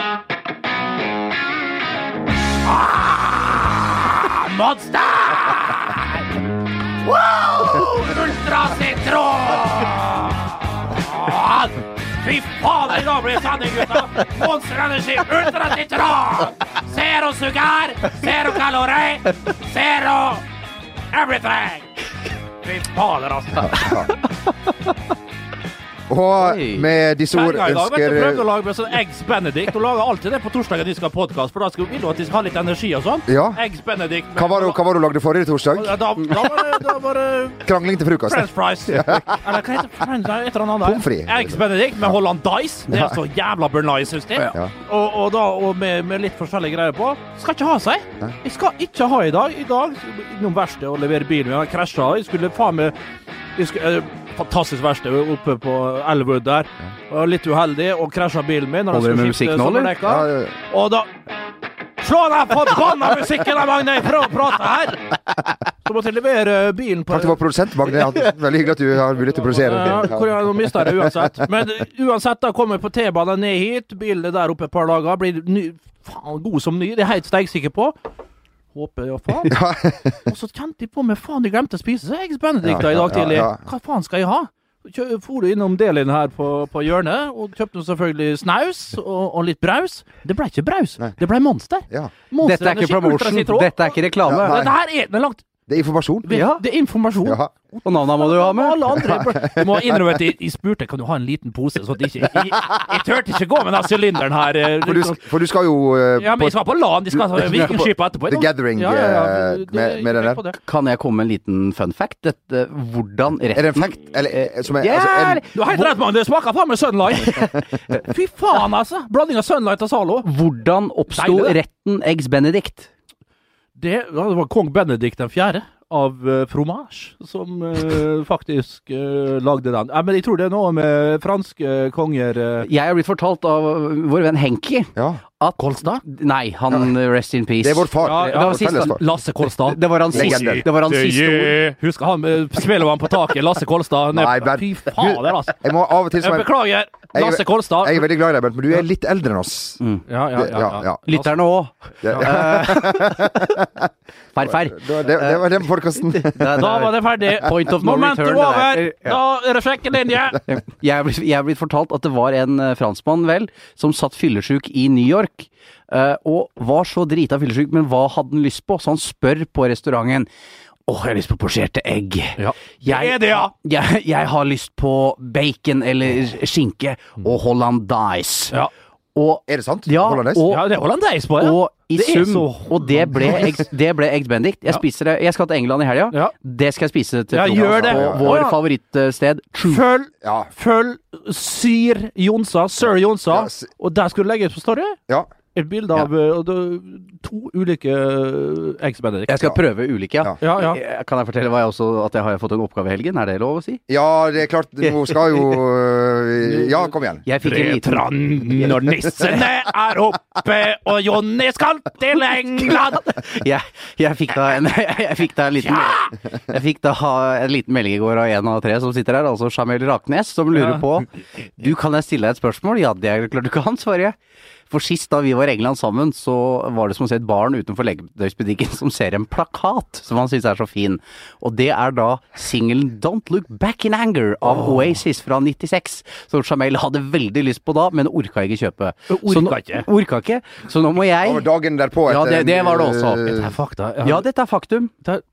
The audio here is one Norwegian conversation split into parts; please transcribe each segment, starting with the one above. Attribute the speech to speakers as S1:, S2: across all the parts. S1: monster! Wow! Ultrasitron! Fy fader, nå blir det sending, gutta! Monster Energy Ultrasitron! Zero sugar, zero kalori, zero everything! Fy fader, altså.
S2: Og
S3: Oi.
S2: med disse ord
S1: Kjerringa i dag vet du, prøvde å
S2: ønsker eh,
S1: lage med sånn Eggs Benedict. Hun lager alltid det på torsdagen de skal ha podkast, for da skal, vil hun at de skal ha litt energi og sånn.
S2: Ja.
S1: Eggs Benedict. med-
S2: hva var, det, hva var det du lagde forrige torsdag?
S1: Da, da, var det, da var det
S2: Krangling til frokost.
S1: French fries. Eller hva heter French fries? Et eller annet der.
S2: Pommes frites.
S1: Eggs Benedict med Holland Dice. Det er så jævla bernais, syns jeg.
S2: Ja.
S1: Og, og, da, og med, med litt forskjellige greier på. Skal ikke ha seg.
S2: Nei.
S1: Jeg skal ikke ha i dag. I dag innom verkstedet og levere bilen min. Jeg krasja. Jeg skulle faen meg jeg skulle, eh, Fantastisk verksted oppe på Elwood der. Og litt uheldig og krasja bilen min. når jeg
S3: Holder du
S1: skulle
S3: med
S1: skifte
S3: musikk nå, eller?
S1: sommerdekka.
S2: Ja, ja.
S1: Og da Slå den forbanna musikken av Magne! Jeg prøver å prate her! Så måtte jeg levere bilen på
S2: Takk til vår produsent, Magne. Ja, Veldig hyggelig at du har mulighet til å produsere.
S1: Ja, hvor jeg nå mister jeg det uansett. Men uansett, da kommer jeg på T-banen ned hit. Bilen er der oppe et par dager. Blir ny, faen god som ny. Det er jeg helt steigsikker på. Håper jeg, ja, faen. Og så kjente jeg på meg faen, jeg glemte å spise eggs benedict da i dag
S2: Ja, ja,
S1: tidlig.
S2: ja.
S1: Hva faen skal jeg ha? Kjø- For innom Delin her på, på hjørnet og kjøpte selvfølgelig snaus og, og litt braus. Det ble ikke braus,
S2: Nei.
S1: det ble monster.
S2: Ja.
S1: Monster
S3: Dette er ikke
S1: Energi,
S3: promotion,
S1: ultrasitron.
S3: dette er ikke reklame.
S2: Ja, nei.
S1: Dette her er, det er langt
S2: Det er informasjon.
S3: Ja.
S1: Det er informasjon.
S2: Ja.
S3: Og navna må du ha med.
S1: Alle andre jeg må innrømme at jeg, jeg spurte kan du ha en liten pose. Så at jeg, ikke, jeg, jeg turte ikke gå med den sylinderen her. eh,
S2: For, du, sk- for du skal jo eh,
S1: ja, men
S2: på
S1: jeg skal på LAN. De skal ha vikingskip etterpå.
S2: The Gathering, eh,
S1: det-
S2: med-
S1: det-
S2: med den
S1: jeg
S2: der.
S1: på det.
S3: Kan jeg komme med en liten fun fact? Dette, hvordan retten
S2: Er det en fact? Eller eh, som er
S3: Ja,
S2: altså, en,
S1: Du har helt rett, mann. Det smaker faen meg Sunlight. Fy faen, altså. Blanding av Sunlight og Zalo.
S3: Hvordan oppsto
S1: Deilig, det.
S3: retten Eggs Benedict?
S1: Det, ja, det var kong Benedikt den fjerde av uh, Fromage som eh, faktisk eh, lagde den. Nei, men jeg tror det er noe med franske konger eh,
S3: Jeg har blitt fortalt av vår venn Henki
S2: ja.
S3: at Kolstad? Nei, han rest in peace.
S2: Det er vår far.
S1: Ja, ja,
S2: Det er
S3: det var
S2: vår felles
S3: siste-
S2: far.
S1: Lasse Kolstad.
S3: Det var hans siste,
S2: Legende.
S3: det var hans siste ord.
S1: Husker han med Spellemann på taket, Lasse Kolstad. Ned,
S2: Nei, men-
S1: fy fader, altså.
S2: Jeg må av og til som
S1: Jeg
S2: er,
S1: beklager,
S2: Jeg-
S1: Lasse Kolstad.
S2: Jeg er veldig glad i deg, Bent, men du er litt eldre enn oss.
S1: Ja, ja,
S2: Det- ja, ja.
S3: Lytterne òg.
S2: Ja.
S3: Farfar.
S2: Det, var- det, det var den podkasten.
S1: Da var det ferdig.
S3: Point of no
S1: Momentum
S3: return, det
S1: over.
S3: der. Ja.
S1: Da er det sjekkelinje.
S3: Jeg er, blitt, jeg er blitt fortalt at det var en eh, franskmann, vel, som satt fyllesyk i New York. eh, og var så drita fyllesyk, men hva hadde han lyst på? Så han spør på restauranten. Åh, jeg har lyst på posjerte egg.
S1: Ja.
S3: Jeg,
S1: Det er det, ja.
S3: Jeg, jeg har lyst på bacon eller skinke og hollandaise.
S1: Ja.
S3: Og
S2: Er det sant?
S3: Ja,
S2: Hollandaise?
S3: og-
S1: Ja, det er hollandeis på det.
S3: og i
S1: Det er
S3: sum,
S1: så-
S3: og det ble, egg, det ble egg benedict. Jeg, spiser det, jeg skal til England i helga.
S1: Ja.
S3: Det skal jeg spise til
S1: Ja,
S3: frokost
S1: gjør det.
S3: på
S1: Å,
S3: vår
S1: ja.
S3: favorittsted. True.
S1: Følg,
S2: Ja.
S1: følg Sir Jonsa, Sir Jonsa,
S2: Ja, s-
S1: og der skulle du legge ut på Story
S2: ja.
S1: et bilde av eh, og det- to ulike eh, Eggs Benedict.
S3: Jeg skal prøve ulike, ja.
S1: Ja, ja.
S3: Eh, Kan jeg fortelle hva jeg også, at jeg har fått en oppgave i helgen? Er det lov å si?
S2: ja, det er klart. Nå skal jo øh, Ja, kom igjen.
S3: Jeg fikk en liten
S1: Tretranden når nissene er oppe, og Jonny skal til England!
S3: jeg, jeg fikk da en, jeg fikk da en liten Jeg fikk da en liten melding i går av en av tre som sitter her, altså Jamel Raknes, som lurer
S1: Ja.
S3: på Du, kan jeg stille deg et spørsmål? Ja, det er klart du kan, svarer jeg. For sist da vi var i England sammen, så var det som å se et barn utenfor legetøysbutikken som ser en plakat som han syns er så fin. Og det er da singelen 'Don't Look Back in Anger' av Oasis fra 96, som Jamel hadde veldig lyst på da, men orka ikke kjøpe. Så nå-
S1: Orka ikke.
S3: Orka ikke. Så nå må jeg
S2: Det var dagen derpå.
S3: Ja,
S2: etter
S3: det- det var det også.
S2: en, øh,
S1: Det er fakta.
S3: ja, dette er faktum.
S1: Det er-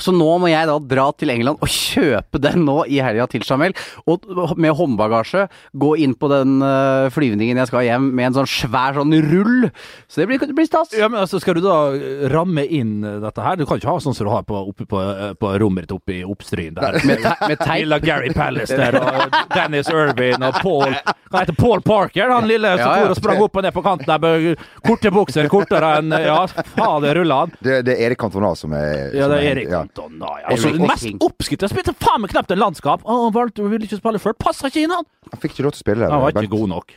S3: Så nå må jeg da dra til England og kjøpe den nå i helga til Jamel. Og med håndbagasje gå inn på den eh, flyvningen jeg skal hjem med en sånn svær sånn rull. Så det blir, det blir stas.
S1: Ja, men altså, Skal du da eh, ramme inn eh, dette her? Du kan ikke ha sånn som du har på, oppe på, eh, på rommet ditt oppe i Oppstryn der.
S3: Med, te med teip.
S1: Lilla Gary Palace der, og Dennis Irvin og Paul Hva heter Paul Parker, han lille som
S3: Ja, ja.
S1: for og sprang opp og ned på kanten der med korte bukser, kortere enn Ja, fader, ruller han.
S2: Det, det er Erik Cantona som er
S1: Ja,
S2: som
S1: det er
S2: er-
S1: Erik
S2: ja.
S1: Cantona. Ja.
S3: Og så-
S1: Den mest oppskrytte. Spilte faen meg knapt en landskap. Å, han valgte, ville ikke spille før. Passa ikke inn, han!
S2: Han fikk ikke lov til å spille der.
S1: Han var ikke
S2: Bent.
S1: god nok.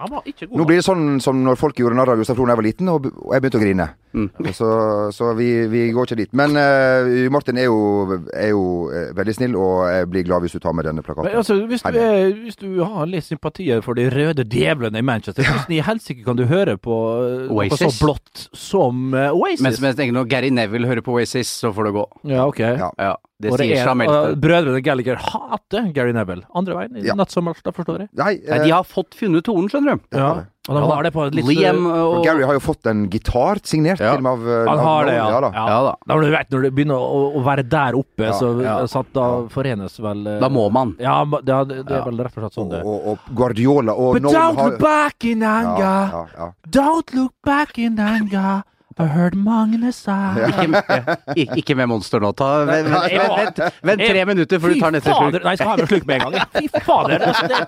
S1: Han var ikke god.
S2: Nå
S1: nok.
S2: blir det sånn som når folk gjorde narr av Gustav Thon da jeg var liten, og og jeg begynte å grine.
S1: Mm.
S2: Så, så vi, vi går ikke dit. Men eh, Martin er jo, er jo eh, veldig snill, og jeg blir glad hvis du tar med denne plakaten.
S1: Men altså, hvis du,
S2: Nei,
S1: er, hvis du har litt sympatier for de røde djevlene i Manchester, hvordan i helsike kan du høre på eh, noe så
S3: Oasis.
S1: blått som eh, Oasis?
S3: Men som jeg tenker når Gary Neville hører på Oasis, så får det gå.
S1: ja, ok.
S2: Ja.
S3: Ja, det
S1: Og det
S3: sier
S1: er,
S3: seg
S1: og
S3: meldt.
S1: brødrene Gallagher hater Gary Neville. Andre veien, i
S2: Ja.
S1: nattsommers, da forstår jeg.
S2: Nei,
S3: Nei,
S2: eh,
S3: de har fått funnet tonen, skjønner du.
S1: Ja, og de
S3: Ja da.
S1: har det på et litt eh,
S3: Liam og
S2: eh, Gary har jo fått en gitar signert
S3: Ja.
S2: til og med av eh,
S1: Han
S2: av
S1: har det,
S2: Nolan,
S1: ja.
S2: da.
S3: Ja da.
S1: Da, du vet, når du begynner å, å være der oppe,
S2: Ja,
S1: så,
S3: ja.
S1: så at da forenes vel eh,
S3: Da må man.
S1: Ja, ma- ja, det, det er
S3: Ja.
S1: vel rett og slett sånn det er.
S2: Og, og Guardiola og
S1: But
S2: Nolan
S1: don't
S2: har-
S1: look back in
S2: ja,
S1: anger.
S2: ja, ja.
S1: Don't look back in anger. I heard Magnus out.
S3: Ikke, ja, ikke med monster nå. Ta, vent, vent, vent, vent, vent tre minutter før du tar neste slurk.
S1: Nei, jeg skal ha meg en slurk med en gang. jeg. Fy fader. Altså, det,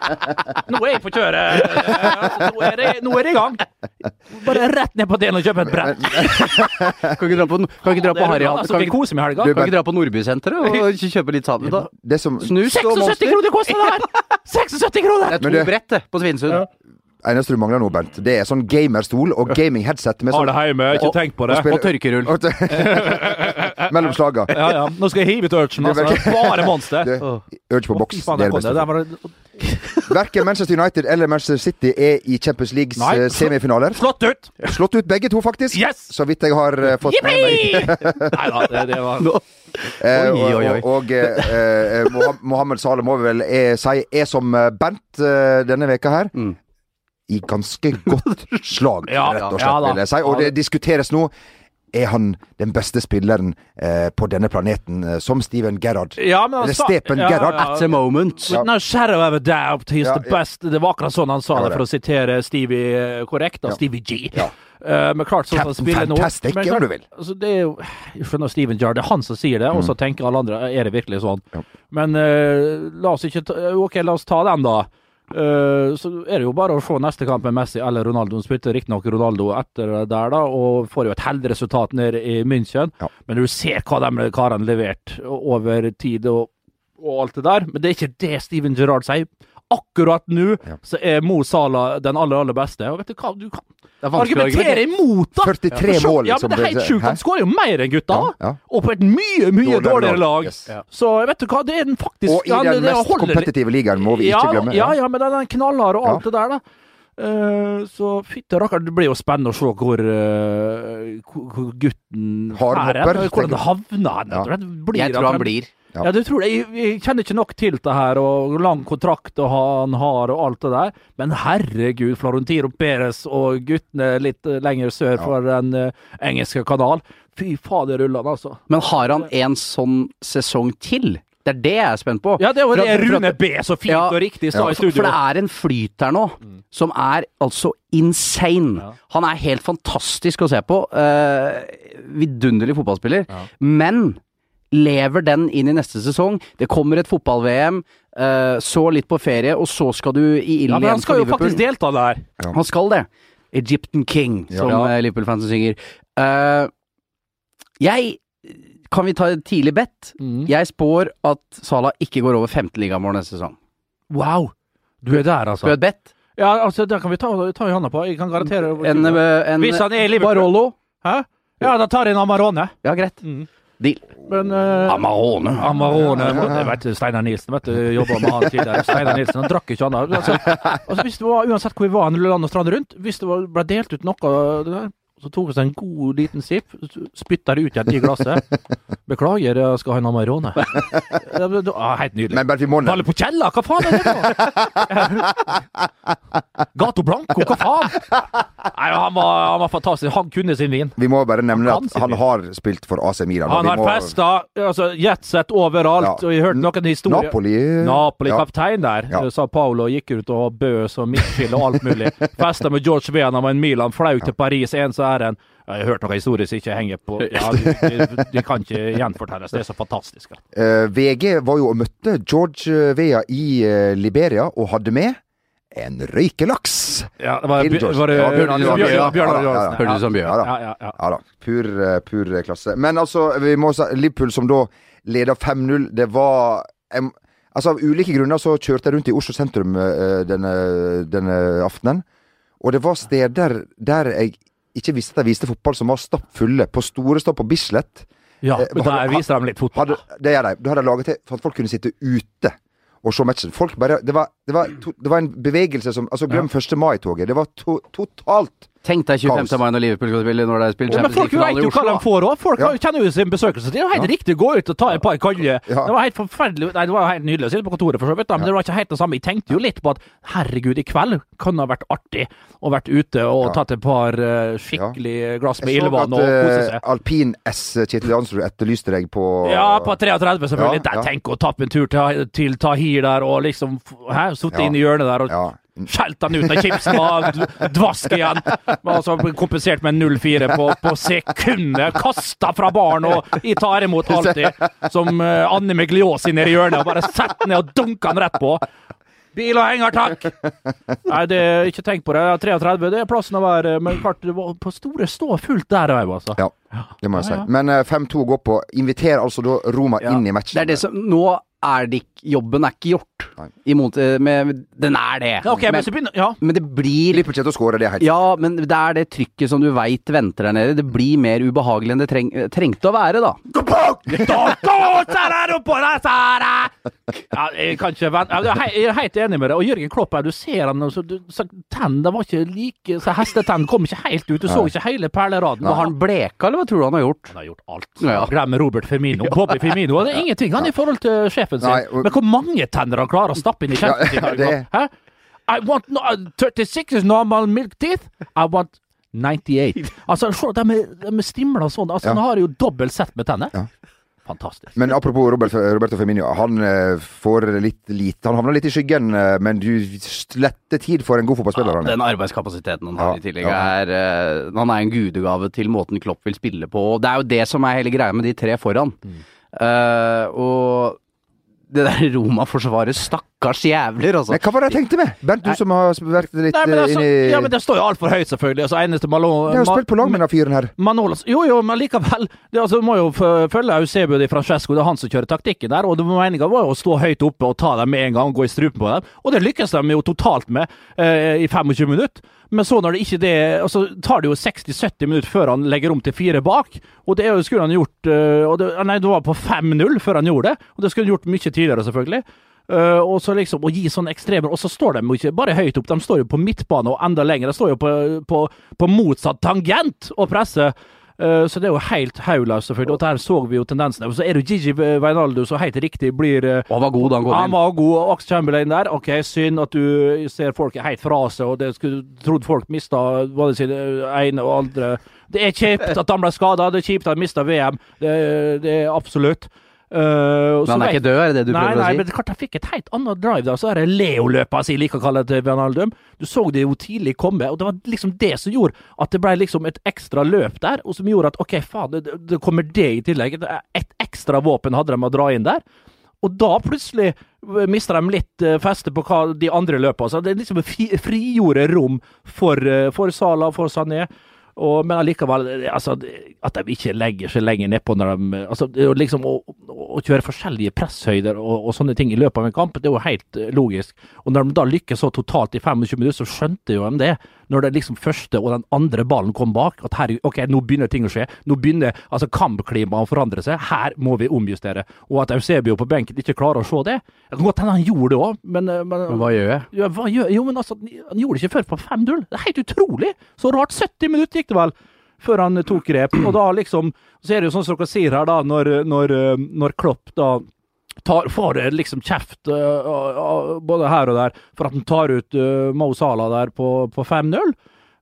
S1: nå er jeg på kjøret. Altså, nå, er det, nå er det i gang. Bare rett ned på den og kjøpe et brett.
S3: Kan ikke dra på, kan ikke dra på Harry Hansen.
S1: Altså,
S3: Kan,
S1: vi
S3: ikke-
S1: koser meg i
S3: kan
S1: helga.
S3: ikke dra på Nordbysenteret og kjøpe litt sammen, da?
S2: Det som
S3: Snus og
S1: 76
S3: monster.
S1: kroner koster det her! 76 kroner!
S3: Det er to
S2: Men det-
S3: brett, det, på Svinesund.
S1: Ja.
S2: eneste du mangler nå, Bent, det er sånn gamerstol og gaming-headset med
S1: Ha
S2: sånn
S1: det hjemme, ikke
S3: Og-
S1: tenk på det.
S2: og spille-
S3: Og tørkerull.
S2: og t- Mellom slaga.
S1: Ja, ja. Nå skal jeg hive ut urgen.
S2: Det er
S1: Altså. Bare monster.
S2: Det-
S1: Åh.
S2: Urge på
S1: Å, fy
S2: boks.
S1: faen,
S2: Det
S1: der
S2: er det
S1: kom det. Der
S2: beste.
S1: var det-
S2: Verken Manchester United eller Manchester City er i Champions Leagues
S1: Nei.
S2: eh, semifinaler.
S1: Slått ut!
S2: Slått ut begge to, faktisk.
S1: Yes!
S2: Så vidt jeg har eh, fått med meg.
S1: Jippi! Nei da, det, det var
S3: Nå.
S2: Eh, og
S3: Oi, oi, oi.
S2: og, og eh, eh, Moha- Mohammed Saleh må vi vel eh, si er som eh, Bent eh, denne veka her.
S3: Mm.
S2: I ganske godt slag,
S1: Ja,
S2: rett og slett,
S1: ja da.
S2: vil jeg si. Og det diskuteres nå. Er han den beste spilleren eh, på denne planeten, eh, som Steven Gerrard?
S1: ja, men han
S2: Eller
S1: sa-
S2: Stepen
S1: ja,
S2: Gerrard.
S1: ja.
S3: At the moment.
S1: With no shadow of a doubt, he's
S2: Ja,
S1: the
S2: ja.
S1: best. Det var akkurat sånn han sa
S2: Det var
S1: det, for å sitere Stevie eh, korrekt, da.
S2: Ja.
S1: Stevie G.
S2: Ja.
S1: Eh, men klart, sånn som han
S2: Captain
S1: spiller nå
S2: Fantastic,
S1: men
S2: om
S1: klart,
S2: du vil. Mm.
S1: Altså, det er jo Jeg skjønner Steven Gerrard, det er han som sier det, og så tenker alle andre er det virkelig sånn.
S2: Ja.
S1: Men eh, la oss ikke ta OK, la oss ta den, da. Eh, så er det jo bare å se neste kamp med Messi eller Ronaldo. Han spilte riktignok Ronaldo etter det der, da, og får jo et heldig resultat nede i München.
S2: Ja.
S1: Men du ser hva de karene levert over tid og, og alt det der. Men det er ikke det Steven Gerrard sier. Akkurat nå
S2: Ja.
S1: så er Mo Salah den aller, aller beste. Og vet du hva, du kan
S3: Det er vanskelig å
S1: argumentere
S3: argumentere.
S1: imot, da!
S2: 43
S1: Ja,
S2: mål, liksom,
S1: ja, men det er helt sjukt.
S2: Hæ?
S1: Han skårer jo mer enn gutta,
S2: Ja, ja.
S1: og på et mye, mye
S2: Dårligere
S1: dårligere
S2: lag,
S1: lag.
S2: yes. Ja.
S1: Så vet du hva, det er den faktisk
S2: Og i
S1: han- det
S2: den mest
S1: holder-
S2: kompetitive ligaen, må vi
S1: ja,
S2: ikke glemme.
S1: Ja, ja, men den er knallhard og alt
S2: Ja.
S1: det der, da. Eh, så fytti rakker, det blir jo spennende å se hvor, eh, hvor hvor gutten
S2: Hardhopper,
S1: er hen, og
S2: tenker
S1: Hvordan
S2: du?
S1: havner han?
S2: Ja.
S1: etter hvert. Blir
S3: Jeg tror han
S1: frem-
S3: blir.
S2: Ja.
S1: ja, du tror det. Jeg, jeg kjenner ikke nok til det her, og hvor lang kontrakt og han har og alt det der. Men herregud, Florentino Perez og guttene litt eh, lenger sør
S2: Ja.
S1: for den eh, engelske kanal. Fy fader, rullan, altså.
S3: Men har han en sånn sesong til? Det er det jeg er spent på.
S1: Ja, det var
S3: For
S1: det
S3: at- for
S1: Rune
S3: at-
S1: B så fint
S3: Ja.
S1: og riktig sa
S2: Ja,
S1: i
S3: Altså, For
S1: studio. Mm.
S3: det er en flyt der nå som er altså insane.
S1: Ja.
S3: Han er helt fantastisk å se på. eh, vidunderlig fotballspiller. Men lever den inn i neste sesong? Det kommer et fotball-VM, eh, så litt på ferie, og så skal du i
S1: Ja,
S3: ilden
S1: men
S3: igjen
S1: han
S3: for
S1: skal jo
S3: Liverpool.
S1: faktisk delta der.
S3: Han skal det. Egyptian King, som
S1: Ja.
S3: eh, Liverpool-fansen synger. Eh, jeg Kan vi ta et tidlig bet?
S1: Mm.
S3: Jeg spår at Salah ikke går over femteligamål neste sesong.
S1: Wow! Du er der, altså.
S3: Skal vi ha et bet?
S1: Ja, altså, Det kan vi ta, ta i handa på. Jeg kan garantere det.
S3: En, eh, en
S1: Hvis han er i Liverpool.
S3: Barolo?
S1: Hæ? Ja, da tar jeg en Amarone.
S3: Ja, greit.
S1: Mm.
S3: Deal.
S1: Men eh,
S3: Ah, Amarone.
S1: Amarone Jeg vet Steinar Nilsen, vet du. Jobba med han tidligere. Steinar Nilsen han drakk ikke annet. Altså, altså, hvis det var, uansett hvor vi var, land og strand rundt, hvis det var, ble delt ut noe av det der, så tok vi oss en god liten sipp, spytta det ut igjen i glasset. Beklager, jeg skal ha en Amarone. Det var- det var ah, Helt nydelig.
S2: Men Bent, vi må nevne
S1: Valle på Kjella, hva faen er det nå? Gato Blanco, hva faen? Nei, han var, han var fantastisk. Han kunne sin vin.
S2: Vi må bare nevne
S1: Han kan
S2: at han
S1: sikkert.
S2: har spilt for AC Milan. og
S1: Han
S2: vi
S1: har
S2: må-
S1: festa altså, jetset overalt,
S2: Ja.
S1: og jeg hørte noen historier.
S2: Napoli eh,
S1: Napoli,
S2: Ja.
S1: kaptein der.
S2: Ja.
S1: Sa Paolo gikk ut og bøs og midtfill og alt mulig. Festa med George Vena og en Milan, fløy til Paris, en så er en. Jeg har hørt noen historier som ikke henger på. Ja, de, de, de kan ikke gjenfortelles. Det er så fantastisk. Ja.
S2: Eh, VG var jo og møtte George Vea i eh, Liberia og hadde med en røykelaks.
S1: Ja, det var,
S2: Til George.
S1: var det
S2: Ja,
S1: Bjørn
S2: Bjørn-
S1: Bjørn- Bjørn Arne
S2: Ja, ja, ja.
S1: Johansen.
S3: Hørtes ut som Bjørn.
S2: Ja da.
S1: Ja, ja, ja.
S2: Ja da. Pur, eh, pur eh, klasse. Men altså, vi må si Liverpool som da leda 5-0, det var em, Altså Av ulike grunner så kjørte jeg rundt i Oslo sentrum eh, denne, denne aftenen. Og det var steder der jeg ikke visste at de viste fotball, som var stappfulle. På store stopp på Bislett.
S1: Ja,
S2: Eh,
S1: men
S2: hadde-
S1: der viser de litt fotball.
S2: Hadde, det gjør de. Da hadde de laget til for at folk kunne sitte ute og se matchen. Folk bare, det, var, det, var to, det var en bevegelse som altså Glem 1. mai-toget. Det var to, totalt
S3: Tenk deg 25.
S2: Kaos.
S3: mai når Liverpool skal spille, når de spiller
S1: Ja, men
S3: Champions
S1: folk
S3: League-finale
S1: vet
S3: i
S1: jo hva
S3: Oslo.
S1: de får òg. Folk
S2: Ja.
S1: har- kjenner jo sin besøkelsestid. Det er jo helt riktig å gå ut og ta et par kalde.
S2: Ja.
S1: Det var helt forferdelig Nei, det var helt nydelig å sitte på kontoret, for så vidt, da, men det var ikke helt det samme. Jeg tenkte jo litt på at herregud, i kveld kan det ha vært artig å vært ute og
S2: Ja.
S1: tatt et par eh, skikkelig glass med
S2: Jeg så
S1: ildvann
S2: at
S1: og kose
S2: eh,
S1: seg.
S2: alpin S Kjetil Jansrud etterlyste deg på
S1: Ja, på 33 selvfølgelig.
S2: Ja, ja.
S1: Der, tenk å tappe en tur til, til Tahir der og liksom hæ, Sitte
S2: Ja.
S1: inn i hjørnet der og
S2: Ja.
S1: Skjelt han ut av chipsen og d- dvask igjen. Men altså kompensert med 0-4 på, på sekundet. Kasta fra baren og jeg tar imot alltid. Som eh, Anne Megliaas inne i hjørnet og bare setter ned og dunker han rett på. Bil og henger, takk! Nei, det, ikke tenk på det. 33, det er plassen å være. Men klart, det var på store stå fullt der òg, altså.
S2: Ja, det må
S1: Ja,
S2: jeg si.
S1: ja.
S2: Men eh, 5-2 går på. Inviterer altså da Roma
S3: Ja.
S2: inn i matchen.
S3: Det er det som Nå er det ikke Jobben er ikke gjort.
S2: Nei.
S3: I mot, eh, med, den er det.
S1: Ja, ok, men så
S3: men,
S1: begynner Ja.
S3: men det blir
S2: Litt budsjett å score, det er helt
S3: Ja, men det er det trykket som du veit venter der nede. Det blir mer ubehagelig enn det treng, trengte å være, da.
S1: Ja, jeg kan ikke vente. Ja, Jeg er helt enig med deg. Og Jørgen Klopp her, du ser han altså, du- så Tennene var ikke like så Hestetenn kom ikke helt ut. Du så ikke hele perleraden.
S3: Var han
S1: han,
S3: bleka, eller hva tror du han har gjort?
S1: han har gjort alt.
S3: Ja.
S1: Glem Robert Firmino. Bobby Firmino. Det er ingenting han er i forhold til sjefen sin.
S2: Nei, og-
S1: Men hvor mange tenner han klarer å stappe inn i
S2: Ja,
S1: kjeften sin?
S2: ja, det-
S1: Hæ? I want no, 36 is normal milk teeth. I want 98. Altså, se, de, er- de er stimla sånn. Altså,
S2: Ja.
S1: Han har jo dobbelt sett med tenner.
S2: Ja.
S1: Fantastisk.
S2: Men apropos Robert, Roberto Firmino. Han eh, får litt lite Han havner litt i skyggen, eh, men du slette tid for en god fotballspiller. han er.
S3: Den arbeidskapasiteten han har
S2: Ja,
S3: i tillegg
S2: ja.
S3: er eh, Han er en gudegave til måten Klopp vil spille på. Og det er jo det som er hele greia med de tre foran.
S2: Mm.
S3: Eh, og det der Roma-forsvaret, stakkars jævler, altså.
S2: Nei, hva var det jeg tenkte med? Bernt, du som har vært litt
S1: Nei, men
S2: eh,
S1: altså,
S2: inni
S1: ja, men det står jo altfor høyt, selvfølgelig. Altså, eneste Malo...
S2: Jeg har
S1: Ma-
S2: spilt på lag med den fyren her.
S1: Manolas Jo, jo, men likevel. Det, altså, du må jo f- følge Eusebio di Francesco. Det er han som kjører taktikken der. Og det- meninga var jo å stå høyt oppe og ta dem med en gang, gå i strupen på dem. Og det lykkes de jo totalt med eh, i 25 minutter. Men så når det ikke det altså, tar det jo 60-70 minutter før han legger om til fire bak. Og det er jo- skulle han gjort eh, og det, Nei, det var på 5-0 før han gjorde det. Og det skulle han gjort mye tidligere, selvfølgelig. Eh, og så liksom å gi sånne ekstremer, og så står de jo ikke bare høyt opp, de står jo på midtbane og enda lenger. De står jo på, på, på motsatt tangent og presser. Eh, så det er jo helt altså, hauløst, selvfølgelig. Og der så vi jo tendensen. Og så er det jo Gigi Veinaldo som helt riktig blir eh,
S3: Og han var god da han kom
S1: han
S3: inn.
S1: var god, og Axe Chamberlain der. Ok, synd at du ser folk er helt fra seg, og det skulle, trodde folk mista både sin eh, ene og andre Det er kjipt at han ble skada, det er kjipt at han mista VM. Det, det er absolutt. Eh, og
S3: Men
S1: så
S3: han er
S1: vet-
S3: ikke død, er det det du
S1: nei,
S3: prøver
S1: nei,
S3: å si?
S1: men klart han fikk et helt annet drive der. Så er det Leo-løpet som jeg liker å kalle det til Wijnaldum. Du så det jo tidlig komme, og det var liksom det som gjorde at det ble liksom et ekstra løp der, og som gjorde at ok, faen, det, det kommer det i tillegg. Det er Et ekstra våpen hadde de med å dra inn der. Og da plutselig mister de litt eh, feste på hva de andre løper. Så det er liksom fri, frigjorde rom for, eh, for Sala, for Sané. Og, men allikevel, eh, altså, det- at de ikke legger seg lenger nedpå når de eh, altså, det er jo liksom å, å- å kjøre forskjellige presshøyder og, og sånne ting i løpet av en kamp, det er jo helt eh, logisk. Og når de da lykkes så totalt i 25 minutter, så skjønte jo de det. Når det liksom første og den andre ballen kom bak, at her, ok, nå begynner ting å skje. Nå begynner altså kampklimaet å forandre seg. Her må vi omjustere. Og at Eusebio på benken ikke klarer å se det. Det kan godt hende han gjorde det òg, men, eh, men
S3: Men hva gjør jeg?
S1: ja, hva gjør Jo, men altså, han gjorde det ikke før på 5-0. Det er helt utrolig! Så rart. 70 minutter gikk det vel før han eh, tok grep. Og da liksom Så er det jo sånn som dere sier her, da, når, når, eh, når Klopp da tar, får eh, liksom kjeft eh, av- av- både her og der for at han tar ut eh, Mo Salah der på, på 5-0,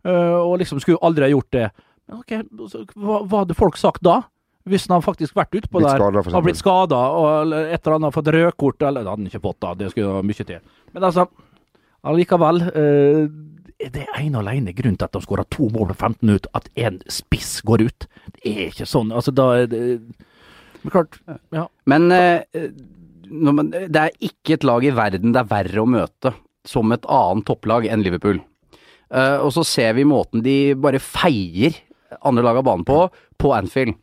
S1: eh, og liksom skulle aldri ha gjort det. Men ok, så, hva, hva hadde folk sagt da? Hvis han hadde faktisk vært utpå
S2: Blitt
S1: der,
S2: skadet, for
S1: har blitt
S2: eksempel.
S1: skada eller et eller annet, fått rødkort eller Det hadde han ikke fått, da. Det skulle mye til. Men altså, Allikevel, eh, det er ene og alene grunnen til at de skåra to mål på 15 minutter, at én spiss går ut. Det er ikke sånn. Altså, da er det Men klart, ja.
S3: Men eh, når man, det er ikke et lag i verden det er verre å møte som et annet topplag enn Liverpool. Eh, og så ser vi måten de bare feier andre lag av banen på, på Anfield.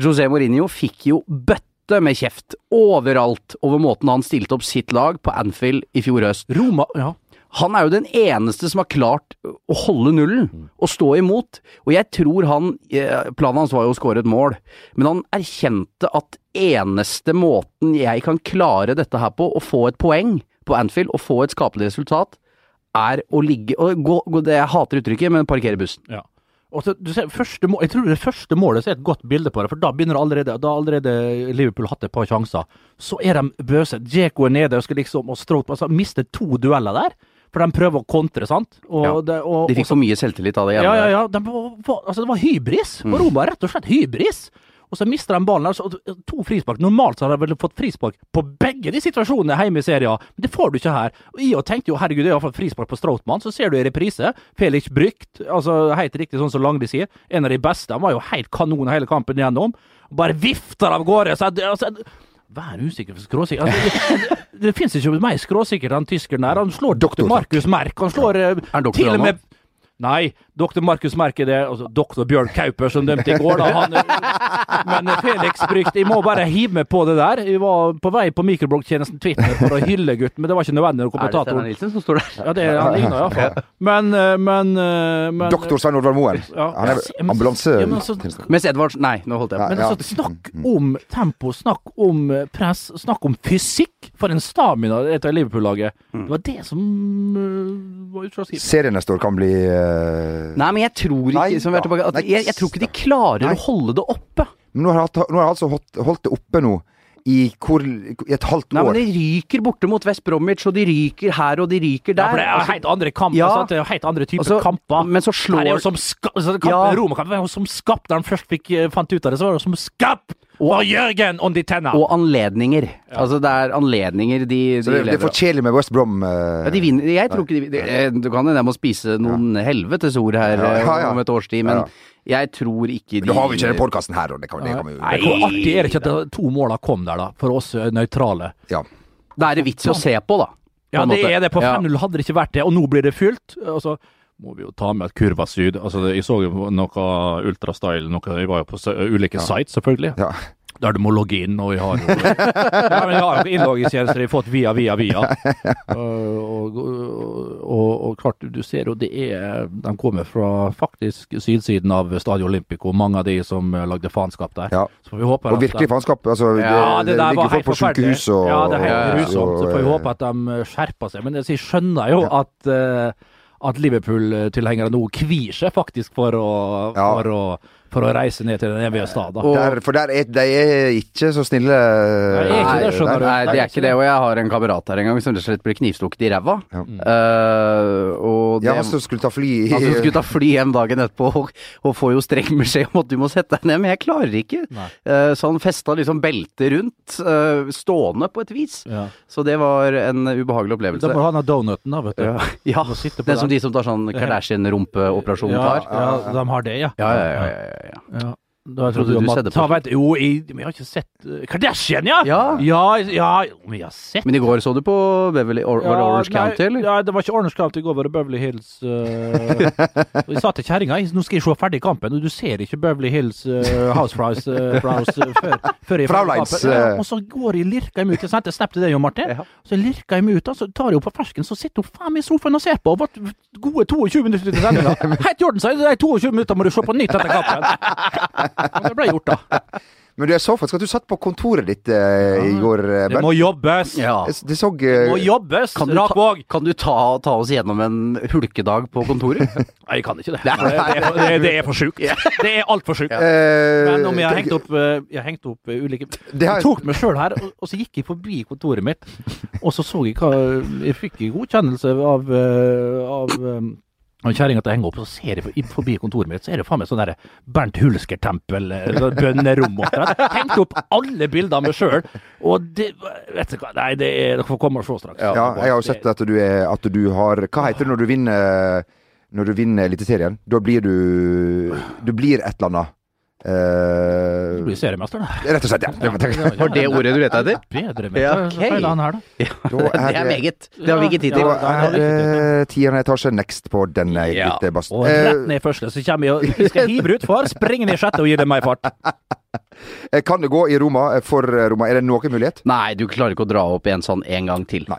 S3: José Mourinho fikk jo bøtte med kjeft overalt over måten han stilte opp sitt lag på Anfield i fjor høst.
S1: Roma Ja.
S3: Han er jo den eneste som har klart å holde
S1: Mm.
S3: nullen og stå imot. Og jeg tror han eh, Planen hans var jo å skåre et mål, men han erkjente at eneste måten jeg kan klare dette her på, å få et poeng på Anfield og få et skapelig resultat, er å ligge og gå, gå det, Jeg hater uttrykket, men parkere bussen.
S1: Ja. Og så, du ser, første mål, jeg tror det første målet så er et godt bilde på det, for da begynner allerede Da har allerede Liverpool hatt et par sjanser. Så er de bøse. Djeko er nede og skal liksom og Strope altså, mister to dueller der. For de prøver å kontre, sant? Og,
S3: Ja.
S1: det, og,
S3: De fikk for mye selvtillit av det
S1: ja,
S3: ene.
S1: ja, ja. De var, var, altså, det var hybris. Og
S3: Mm.
S1: Roma er rett og slett hybris. Og så mister de ballen. Altså, og to frispark. Normalt så har de vel fått frispark på begge de situasjonene hjemme i serien, men det får du ikke her. Og jeg tenkte jo herregud, det er iallfall frispark på Stroutmann. Så ser du i reprise. Felix Brykt, altså helt riktig sånn som Langli sier, en av de beste. Han var jo helt kanon hele kampen gjennom. Bare vifter av gårde. Så, jeg- altså, Vær usikker for skråsikker. Altså, det, det finnes ikke mer skråsikker enn tyskeren der. Han slår
S2: Doktor.
S1: doktor Markus Merk. Han slår eh,
S3: han doktor,
S1: til
S3: han
S1: og med Nei, doktor Markus merker det. Altså, doktor Bjørn Kauper, som dømte i går, da. Han, men Felix Brygt, jeg må bare hive meg på det der. Jeg var på vei på mikrobloggtjenesten Twitter for å hylle gutten, men det var ikke nødvendig når
S3: Er det Steinar
S1: kommentatoren
S3: Nilsen som står der?
S1: Ja, det er han ligner iallfall. Men, eh, men, eh, men
S2: Doktor Svein Oddvar Moen.
S1: Ja.
S2: Han er
S1: Ja, men-
S2: ambulanse...
S1: Ja, men altså-
S3: Mens Edvards Nei, nå holdt jeg på.
S1: Men
S2: Ja.
S1: altså, snakk om tempo, snakk om eh, press, snakk om fysikk! For en stamina det heter Liverpool-laget.
S3: Mm.
S1: Det var det som eh, var utslagsgivende.
S2: Serien neste år kan bli eh,
S3: Nei, men jeg tror ikke,
S2: Nei,
S3: som vi er
S2: da.
S3: tilbake, at
S2: Nei,
S3: jeg, jeg tror ikke de klarer
S2: Nei.
S3: å holde det oppe.
S2: Men nå har jeg, hatt- nå har jeg altså holdt, holdt det oppe nå i, hvor, i et halvt
S3: Nei,
S2: år.
S3: men De ryker borte mot West Bromwich, og de ryker her og de ryker
S1: Ja, for
S3: der.
S1: det er jo helt andre kamper,
S3: Ja.
S1: sant? Det er jo helt andre typer
S3: Altså,
S1: kamper.
S3: men så slår-
S1: Her er jo som ska- altså, kampen,
S3: Ja.
S1: Romerkampen var jo som skapt da han først fikk, eh, fant ut av det, så var det som skapt! Og Jørgen on the tenna!
S3: og anledninger. Altså, det er anledninger de, de
S2: Så det, det er
S3: lever
S2: for
S3: av.
S2: kjedelig med West Brom. eh,
S3: Ja, de vinner. Jeg tror ikke de vinner. Eh, Du kan hende jeg må spise noen helvetes ord her
S2: Ja, ja, ja.
S3: eh, om et års tid, men
S2: Ja.
S3: jeg tror ikke de
S2: Men da har vi ikke
S3: vinner.
S2: den podkasten her, og det kan, det kan vi jo
S1: Nei, hvor artig er det ikke at de to måla kom der, da, for oss eh, nøytrale?
S2: Ja.
S3: Da er det vits i å se på, da. på
S1: Ja,
S3: en
S1: det
S3: måte.
S1: er det. På
S3: Ja.
S1: 5-0 hadde det ikke vært det, og nå blir det fylt. Altså, må vi jo ta med at kurva syd altså, det- Jeg så jo noe Ultrastyle, noe, jeg var jo på sø- ulike sites, selvfølgelig.
S2: Ja.
S1: Der du må logge inn, og vi har jo ja, men jeg har jo innloggingstjenester jeg har fått via, via, via. Uh, og, og, og, og klart, du ser jo det er De kommer fra faktisk sydsiden av Stadio Olympico, mange av de som eh, lagde faenskap der.
S2: Ja.
S1: Så vi håper at
S2: Og
S1: de-
S2: virkelig faenskap. Altså,
S1: ja, det, der var
S2: ligger
S1: helt
S2: folk på
S1: forferdelig.
S2: sykehus og
S1: ja, det er helt
S3: og-
S1: grusomt. Så får vi
S2: og-
S1: håpe at de eh, skjerper seg. Men jeg skjønner jo at eh, at Liverpool-tilhengere nå kvir seg faktisk for å,
S2: Ja.
S1: for, å, for å reise ned til den evige stad. da.
S2: der, For der er, de er ikke så snille. eh,
S1: Det er ikke det, skjønner du.
S3: Nei, det er ikke det. Og jeg har en kamerat her en gang som rett og slett ble knivstukket i ræva.
S2: Ja.
S3: Eh, og
S2: Ja, altså,
S3: det-
S2: han som skulle ta fly i
S3: Han som skulle ta fly hjem dagen etterpå og, og får jo streng beskjed om at du må sette deg ned, men jeg klarer ikke.
S1: Nei.
S3: Eh, så han festa liksom beltet rundt, eh, stående på et vis.
S1: Ja.
S3: Så det var en ubehagelig
S1: Da
S3: opplevelse.
S1: får han ha donuten, da, vet du.
S3: ja, ja.
S1: Må sitte på
S3: den som
S1: den.
S3: de som tar sånn Kardashian-rumpeoperasjon
S1: ja,
S3: tar.
S1: ja, de har det, ja.
S3: Ja, ja, ja. ja, ja, ja.
S1: Ja. Da jeg
S3: Trodde
S1: trodde
S3: du
S1: du
S3: så det
S1: at
S3: på-
S1: Ta meg et- Jo, jeg, men jeg har ikke sett eh, Kardashian, ja!
S3: Ja.
S1: ja! ja, men jeg har sett
S3: Men i går så du på Beverly Or Var det
S1: Ja,
S3: Orange
S1: nei,
S3: County, eller?
S1: Ja, det var ikke Orange County i går, var det Beverly Hills eh, og Jeg sa til kjerringa jeg- nå skal jeg se ferdig kampen, og du ser ikke Beverly Hills eh, House Fries eh, Fries, eh, før, før jeg er ferdig med
S2: Frauleins,
S1: kampen. Ja,
S2: eh.
S1: Og så går jeg lirker jeg meg ut. Jeg sendte snap til deg, Jon Martin.
S3: Ja.
S1: Så lirker jeg meg ut, og så tar jeg henne på fersken, så sitter hun faen meg i sofaen og ser på. Og ble gode 22 minutter til sendinga. Helt i orden, sa jeg. De 22 minuttene må du se på nytt etter kampen. Og det ble gjort, da.
S2: Men du, jeg så faktisk at du satt på kontoret ditt eh, i går, eh,
S1: Det
S2: Bernt.
S1: må jobbes!
S3: Ja.
S2: Jeg s- Det så eh,
S1: Må jobbes!
S3: Kan du, ta,
S1: Rakvåg!
S3: kan du ta, ta oss gjennom en hulkedag på kontoret?
S1: Nei, jeg kan ikke det. Det er, det er, det er, det er for sjukt. Det er altfor sjukt.
S2: eh,
S1: Men om jeg har hengt opp, eh, jeg har hengt opp eh, ulike
S2: Det har-
S1: Jeg tok meg sjøl her, og, og så gikk jeg forbi kontoret mitt, og så så jeg hva Jeg fikk godkjennelse av, eh, av eh, av kjerringa til å henge opp, og så ser jeg for- i- forbi kontoret mitt, så er det faen meg sånn derre Bernt Hulsker-tempel, eh, sånn bønnerom og sånn. Hengte opp alle bilder av meg sjøl, og det Vet du hva, nei, det er Dere får komme og se straks.
S2: Ja, jeg har jo sett at du, er, at du har Hva heter det når du vinner Når du vinner Eliteserien? Da blir du Du blir et eller annet.
S1: Du
S2: Eh,
S1: blir seriemester, da.
S2: rett og slett, ja. Det var-
S3: Var det ordet du lette etter?
S1: Bedre
S3: Ja,
S1: mester.
S3: ok.
S1: så feiler han her, da.
S2: Da
S3: Det
S2: er
S3: er
S2: det-
S3: meget. Det har vi ikke tid
S1: Ja,
S3: til.
S1: ja,
S2: Da
S1: det
S2: er det eh, tiende etasje next på denne Eh,
S3: Ja.
S2: lille bassen.
S1: Og rett ned i første, så kommer jeg og vi skal hive utfor, springe ned i sjette og gi det meg fart.
S2: Eh, kan det gå i Roma eh, for eh, Roma? Er det noen mulighet?
S3: Nei, du klarer ikke å dra opp en sånn en gang til.
S2: Nei.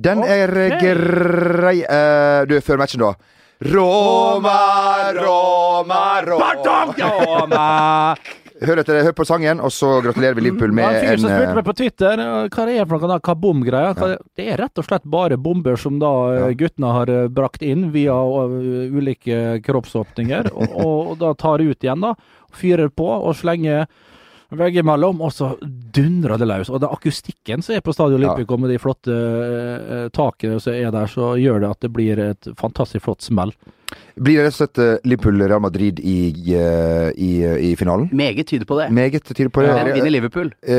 S2: Den er
S1: Ok.
S2: grei eh, Du, før matchen, da. Roma, Roma, Roma
S1: Barcelona!
S2: Hør etter, hør på sangen, og så gratulerer vi Liverpool
S1: Det var en
S2: med
S1: fyr
S2: en
S1: som spurte
S2: eh,
S1: meg på Twitter eh, hva det er for noe kabom-greia. Det er rett og slett bare bomber som da eh, guttene har eh, brakt inn via eh, ulike kroppsåpninger, og, og, og da tar ut igjen, da. Fyrer på og slenger veggimellom, og så dundrer det løs. Og den akustikken som er på Stadion
S2: Ja.
S1: Olympico med de flotte eh, takene som er der, så gjør det at det blir et fantastisk flott smell.
S2: Blir det rett og slett eh, Liverpool-Real Madrid i, eh, i, i finalen?
S3: Meget tyder på det.
S2: Meget tyder på det.
S3: Hvem vinner Liverpool?
S2: Eh,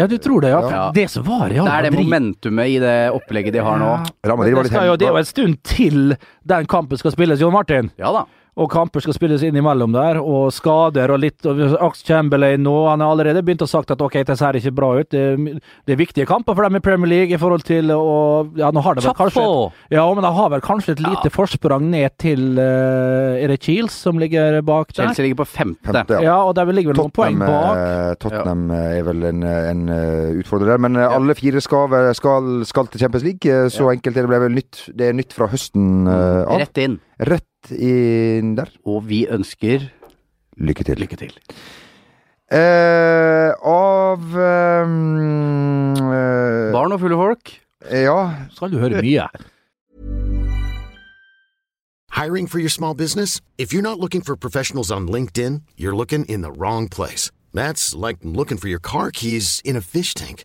S1: Ja, du tror det, ja.
S2: Ja.
S1: Det som var Real
S3: Det er det
S1: Madrid
S3: momentumet i det opplegget de har nå.
S2: Real
S1: Men
S2: Madrid
S1: det,
S2: var litt
S1: skal jo, det er jo
S2: hemmelig.
S1: en stund til den kampen skal spilles, Jon Martin.
S3: Ja da.
S1: Og kamper skal spilles innimellom der, og skader og litt og Ax Chamberlain nå, han har allerede begynt å sagt at ok, det ser ikke bra ut. Det er, det er viktige kamper for dem i Premier League i forhold til å Ja, nå har det vel
S3: Chapo.
S1: kanskje Ja, men de har vel kanskje et lite forsprang ned til eh, Er det Chiels som ligger bak der?
S3: Chelsea ligger på femte.
S2: Femte, ja.
S1: Ja, og der ligger vel noen poeng bak.
S2: Tottenham, eh, Tottenham eh, er vel en, eh, en eh, utfordrer der. Men eh, alle fire skal, vel- skal, skal til Champions League. eh, Så enkelt er det. ble vel nytt, det er nytt fra høsten eh, av.
S3: Rett inn.
S2: Rett inn der.
S3: Og vi ønsker
S2: Lykke til.
S3: lykke til.
S2: Eh, av eh,
S3: Barn og fulle folk.
S2: eh, Ja.
S1: Skal du høre mye.
S4: Hiring for your small business? If you're not looking for professionals on LinkedIn, you're looking in the wrong place. That's like looking for your car keys in a fish tank.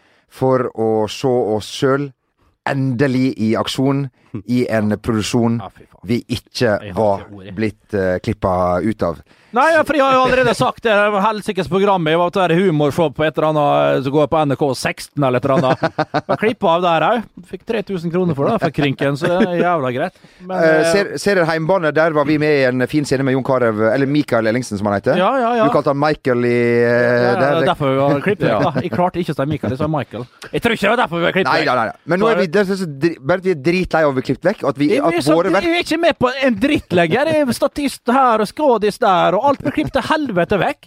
S2: for å se oss sjøl endelig i aksjon i en produksjon
S1: Ja, fy faen.
S2: vi ikke
S1: ikke
S2: var
S1: ordet.
S2: blitt uh, klippa ut av.
S1: Nei, ja, for jeg har jo allerede sagt det. det var Helsikes programmet var det der humorshow på et eller annet eh, som går på NRK16 eller et eller annet. Jeg klippet av der òg. Fikk 3000 kroner for det for krinken, så det er jævla greit. Men,
S2: Uh,
S1: eh,
S2: ser, serier Heimbane, der var vi med i en fin scene med Jon Carew, eller Mikael Ellingsen som han heter.
S1: ja, ja, ja.
S2: Du kalte han Michael i
S1: ja,
S2: eh,
S1: ja, det
S2: der.
S1: er derfor vi har klippet vekk, da. Jeg klarte ikke å si Michael, jeg sa Michael. Jeg tror ikke det var derfor vi har klippet
S2: Nei, nei,
S1: vekk.
S2: nei. nei. Men nå er vi, det er så- så dri- Bernt, vi er dritlei av å bli klippet vekk. og At, vi,
S1: Jeg
S2: at
S1: er, sånn så,
S2: våre verk
S1: jeg er ikke med på en dritt lenger. Jeg er statist her og skrådis der, og alt blir klippet til helvete vekk.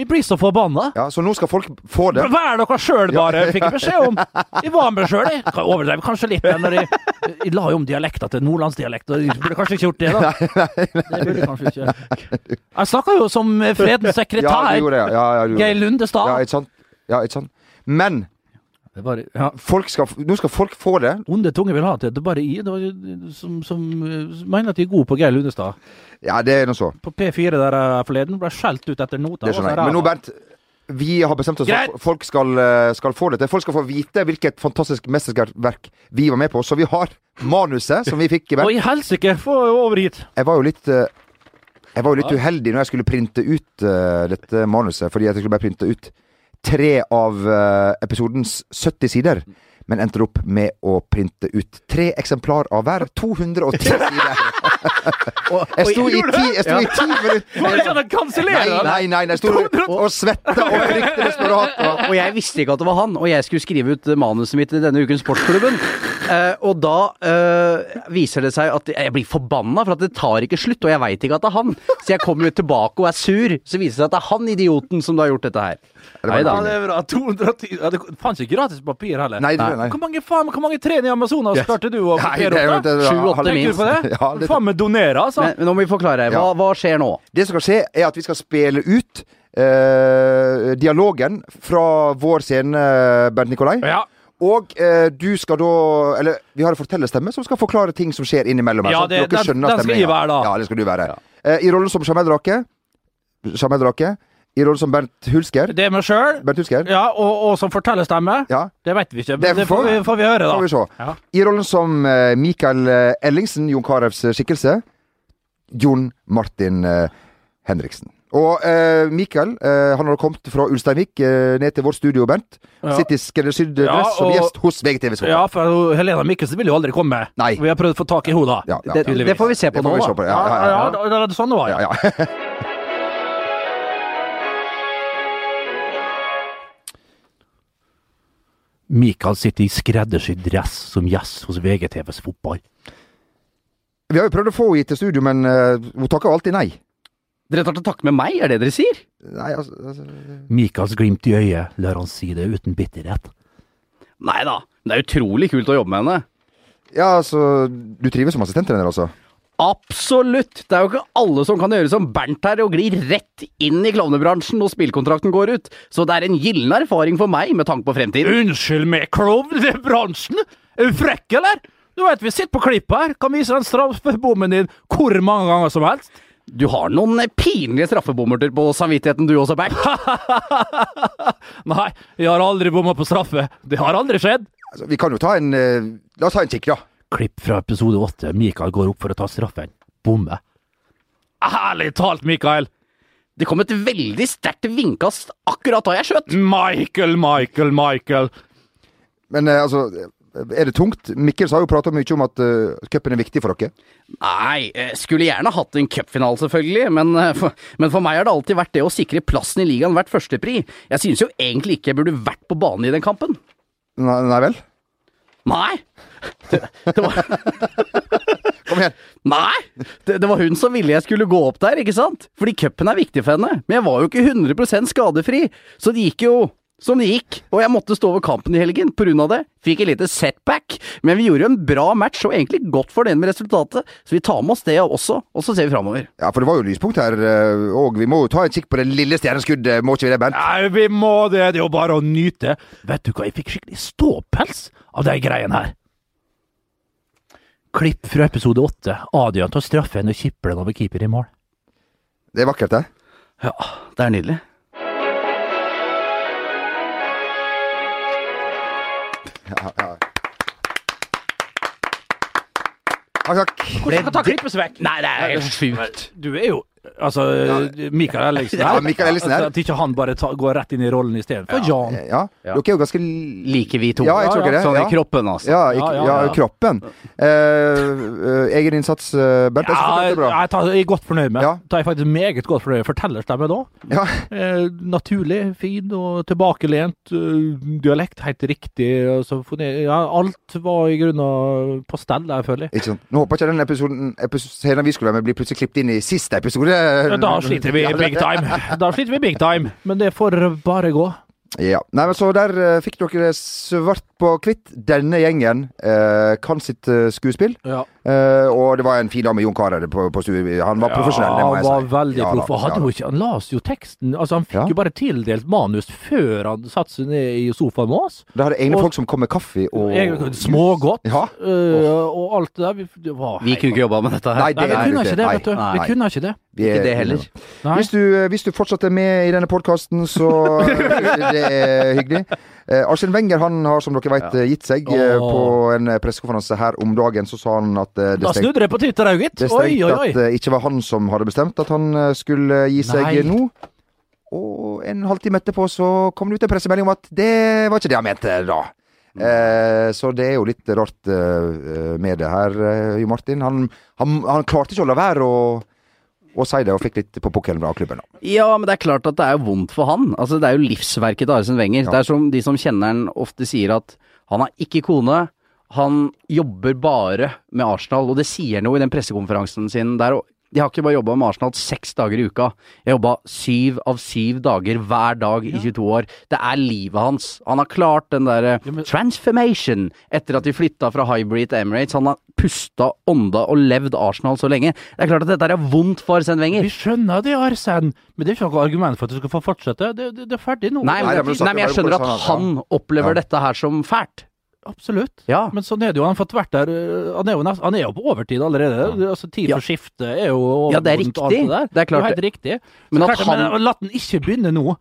S1: Vi blir så forbanna.
S2: Ja, Så nå skal folk få det.
S1: Vær dere sjøl, bare, fikk jeg beskjed om. Jeg var med sjøl, jeg. Kan Overdrev kanskje litt. men Når jeg, jeg la jo om dialekta til nordlandsdialekt, og jeg burde kanskje ikke gjort det, da. Det burde jeg kanskje ikke. Jeg snakka jo som fredens
S2: Ja,
S1: sekretær,
S2: du gjorde det. Ja, ja, du gjorde
S1: Geir
S2: det. Ja,
S1: Lundestad.
S2: ikke sant? Ja, ikke sant? Men
S1: Det er bare, ja.
S2: Folk skal, nå skal folk få det.
S1: Onde tunge vil ha til at det bare er jeg det var- som, som eh, mener at de er gode på Geir Lundestad.
S2: Ja, det er nå så.
S1: På P4 der eh, forleden ble jeg skjelt ut etter nota.
S2: Det skjønner jeg. Men nå, Bernt. Vi har bestemt oss for
S1: Greit.
S2: at folk skal, eh, skal få det til. Folk skal få vite hvilket fantastisk mesterverk vi var med på. Så vi har manuset som vi fikk. i
S1: Å,
S2: Bernt.
S1: i helsike! Få over hit!
S2: Jeg var jo litt eh, Jeg var jo litt uheldig når jeg skulle printe ut eh, dette manuset, fordi at jeg skulle bare printe ut tre av eh, episodens 70 sider. Men endte opp med å printe ut tre eksemplar av hver. 210 sider! Jeg sto i ti, jeg sto i ti minutter
S1: Kan han
S2: Nei,
S1: kansellere?
S2: nei, nei. Jeg sto og svetta og fryktet desperat. og-
S3: Og jeg visste ikke at det var han, og jeg skulle skrive ut eh, manuset mitt i denne ukens Sportsklubben. Eh, og da eh, viser det seg at jeg blir forbanna, for at det tar ikke slutt, og jeg veit ikke at det er han. Så jeg kommer jo tilbake og er sur, så viser det seg at det er han idioten som da har gjort dette her.
S2: det var
S3: Nei da.
S1: Ja, det er bra. 210 ja, Det fantes ikke gratis papir heller.
S2: Nei, det- nei.
S1: Hvor mange, faen, hvor mange trær i Amazonas klarte du å
S2: Nei, det
S1: kopiere
S2: er jo
S1: opp? da?
S2: det-
S3: Sju-åtte
S2: halv-
S1: Tenker du på det?
S2: Ja, det-
S1: Faen meg donere, altså.
S3: Men, men nå må vi forklare. Hva,
S2: Ja.
S3: hva skjer nå?
S2: Det som skal skje, er at vi skal spille ut eh, dialogen fra vår scene, Bernt Nikolai.
S1: Ja.
S2: Og eh, du skal da Eller vi har en fortellerstemme som skal forklare ting som skjer innimellom. her,
S1: Ja,
S2: sånn at
S1: det-
S2: dere
S1: den-
S2: skjønner
S1: den skal
S2: stemningen.
S1: jeg være, da.
S2: Ja, det skal du være. Eh, I rollen som sjameldrake Sjameldrake. I rollen som Bernt Hulsker.
S1: Det er meg sjøl,
S2: Bernt Hulsker.
S1: ja, og, og som fortellerstemme.
S2: Ja.
S1: Det vet vi ikke,
S2: Det
S1: men det får vi, får vi høre,
S2: Får
S1: da.
S2: vi se.
S1: Ja.
S2: I rollen som eh, Mikael eh, Ellingsen, Jon Karevs eh, skikkelse, Jon Martin eh, Henriksen. Og eh, Mikael eh, han har kommet fra Ulsteinvik eh, ned til vårt studio, Bernt.
S1: Ja.
S2: Sitter i skreddersydd dress
S1: Ja,
S2: som
S1: og-
S2: gjest hos VGTV Skål.
S1: Ja, for hun- Helena Mikkelsen vil jo aldri komme.
S2: Nei.
S1: Vi har prøvd å få tak i henne, da.
S2: Ja, ja.
S3: Det, det får vi se på
S2: Det får
S3: nå,
S2: vi se
S3: da.
S2: på, ja, ja, ja,
S1: ja,
S2: ja.
S1: da- da er det sånn det var,
S2: Ja, ja.
S1: Mikael sitter i skreddersydd dress som gjest hos VGTVs fotball.
S2: Vi har jo prøvd å få henne til studio, men eh, hun takker alltid nei.
S3: Dere tar til takke med meg, er det dere sier?
S2: Nei, altså, altså
S1: Mikaels glimt i øyet lar han si det uten bitterhet.
S3: Nei da. Det er utrolig kult å jobbe med henne.
S2: Ja, altså Du trives som assistenttrener, altså?
S3: Absolutt! Det er jo ikke alle som kan gjøre som Bernt her og gli rett inn i klovnebransjen når spillkontrakten går ut, så det er en gyllen erfaring for meg med tanke på fremtiden.
S1: Unnskyld meg, klovn i bransjen! Er du frekk, eller? Du vet, vi sitter på klippet her, kan vise den straffebommen din hvor mange ganger som helst.
S3: Du har noen eh, pinlige straffebommerter på samvittigheten du også, Bernt.
S1: Nei, jeg har aldri bomma på straffe. Det har aldri skjedd.
S2: altså? Vi kan jo ta en eh, La oss ta en kikk, da.
S1: Klipp fra episode åtte. Mikael går opp for å ta straffen. Bomme. Ærlig talt, Mikael.
S3: Det kom et veldig sterkt vindkast akkurat da jeg skjøt.
S1: Michael, Michael, Michael.
S2: Men eh, altså Er det tungt? Mikkel har jo prata mye om at eh, cupen er viktig for dere.
S3: Nei, eh, skulle gjerne hatt en cupfinale, selvfølgelig, men, eh, for- men for meg har det alltid vært det å sikre plassen i ligaen vært førstepri. Jeg synes jo egentlig ikke jeg burde vært på banen i den kampen.
S2: Nei, nei vel?
S3: Nei! Det, det var...
S2: Kom igjen.
S3: Nei! Det, det var hun som ville jeg skulle gå opp der, ikke sant? Fordi cupen er viktig for henne. Men jeg var jo ikke 100 skadefri, så det gikk jo som det gikk. Og jeg måtte stå over kampen i helgen pga. det. Fikk et lite setback, men vi gjorde en bra match og egentlig godt fornøyd med resultatet, så vi tar med oss det også, og så ser vi framover.
S2: Ja, for det var jo lyspunkt her, eh, og vi må jo ta en kikk på det lille stjerneskuddet, eh, må ikke vi det, Bernt?
S1: Nei, vi må det. Det er jo bare å nyte. Vet du hva, jeg fikk skikkelig ståpels av de greiene her. Klipp fra episode åtte. Adrian tar straffen og kipper den over keeper i mål.
S2: Det er vakkert, det.
S3: Ja, det er nydelig.
S2: Takk, takk.
S1: Hvordan kan ta klippes vekk?
S3: Nei, det er helt sjukt.
S1: Du er jo Altså, Mikael Ellingsen her.
S2: Ja, Mikael Ellingsen her.
S1: Altså, at ikke han bare ta, går rett inn i rollen istedenfor. Ja. Jan.
S2: Ja, dere er jo ganske li-
S3: Like vi to.
S2: Ja, jeg tror ikke det,
S3: Sånn
S2: ja.
S3: i kroppen, altså.
S2: ja, i,
S1: Ja,
S2: ja,
S1: ja, ja.
S2: kroppen. Eh, eh, egen innsats, eh, Bernt. Jeg synes
S1: Ja,
S2: det er bra.
S1: jeg tar- jeg er godt fornøyd med.
S2: Ja.
S1: Tar jeg faktisk meget godt fornøyd med. Fortellerstemme nå.
S2: Ja,
S1: Eh, naturlig, fin og tilbakelent. eh, dialekt helt riktig. Altså, fone- ja, alt var i grunnen på stell, jeg føler.
S2: ikke sant. Nå håper jeg ikke den episoden epis- scenen vi skulle være med, blir plutselig klippet inn i siste episode.
S1: Ja, Da sliter vi big time. Da sliter vi big time. Men det får bare gå.
S2: Ja. Nei, men så der eh, fikk dere svart på hvitt. Denne gjengen eh, kan sitt eh, skuespill.
S1: Ja.
S2: Eh, og det var en fin dame, Jon Carew, på, på studiet. Han var profesjonell, det
S1: Ja,
S2: må
S1: han
S2: jeg si.
S1: var veldig
S2: Ja da,
S1: proff. og
S2: ja
S1: hadde
S2: da.
S1: jo ikke- Han las jo teksten. Altså, han fikk
S2: Ja.
S1: jo bare tildelt manus før han satte seg ned i sofaen med oss.
S2: Da hadde egne
S1: Og-
S2: folk som kom med kaffe og
S1: Jeg- Smågodt
S2: Ja.
S1: øh, og alt det der. Vi, det var,
S3: Vi kunne ikke jobba med dette her.
S1: Nei,
S2: Nei,
S1: vi
S2: er
S1: kunne
S2: ikke
S1: ikke
S2: det.
S1: det, vet du.
S3: Nei,
S1: Vi
S2: nei.
S1: kunne ikke det.
S2: Vi
S3: Ikke
S2: er-
S3: det heller.
S1: Nei.
S2: Hvis du, eh, hvis du fortsatt er med i denne podkasten, så det er hyggelig. Eh, Arsen Wenger han har som dere vet gitt seg. eh,
S1: Åh.
S2: På en eh, pressekonferanse her om dagen så sa han at eh, det
S1: Da
S2: stengte
S1: snudde det på Twitter òg, gitt.
S2: Det
S1: Oi,
S2: strengte
S1: oi,
S2: at
S1: oi.
S2: det ikke var han som hadde bestemt at han eh, skulle gi seg
S1: Nei.
S2: nå. Og en halvtime etterpå så kom det ut en pressemelding om at det var ikke det han mente da. Eh, så det er jo litt rart eh, med det her, eh, Jo Martin. Han, han, han klarte ikke å la være å, å si det, og fikk litt på pukkelen av klubben. da.
S3: Ja, men det er klart at det er jo vondt for han. Altså, det er jo livsverket til Arsen Wenger.
S2: Ja.
S3: Det er som de som kjenner han ofte sier at han har ikke kone, han jobber bare med Arsenal, og det sier noe i den pressekonferansen sin der. og Jeg har ikke bare jobba med Arsenal seks dager i uka. Jeg jobba syv av syv dager hver dag i 22 år. Det er livet hans. Han har klart den derre
S1: Ja, men-
S3: transformation etter at de flytta fra Hybrid til Emirates. Han har pusta, ånda og levd Arsenal så lenge. Det er klart at dette er vondt for Arsen Wenger.
S1: Vi skjønner det, Arsen, men det er ikke noe argument for at du skal få fortsette. Det, det, det er ferdig nå.
S3: Nei, men,
S2: Nei, det er vel
S3: nei, men
S2: sagt,
S3: jeg
S2: det var
S3: skjønner
S2: jo
S3: at
S2: bare sånn
S3: han opplever dette her som fælt.
S1: Absolutt.
S3: Ja.
S1: Men sånn er det jo. Han har fått vært der øh, Han er jo, nest, han er jo på overtid allerede. Altså, tid
S3: Ja.
S1: for skifte er jo overmodent
S3: Ja, det er
S1: og alt
S3: riktig.
S1: der.
S3: Det er klart
S1: helt riktig.
S3: Men
S1: Men,
S3: at
S1: klart, det,
S3: han-
S1: men la den ikke begynne nå.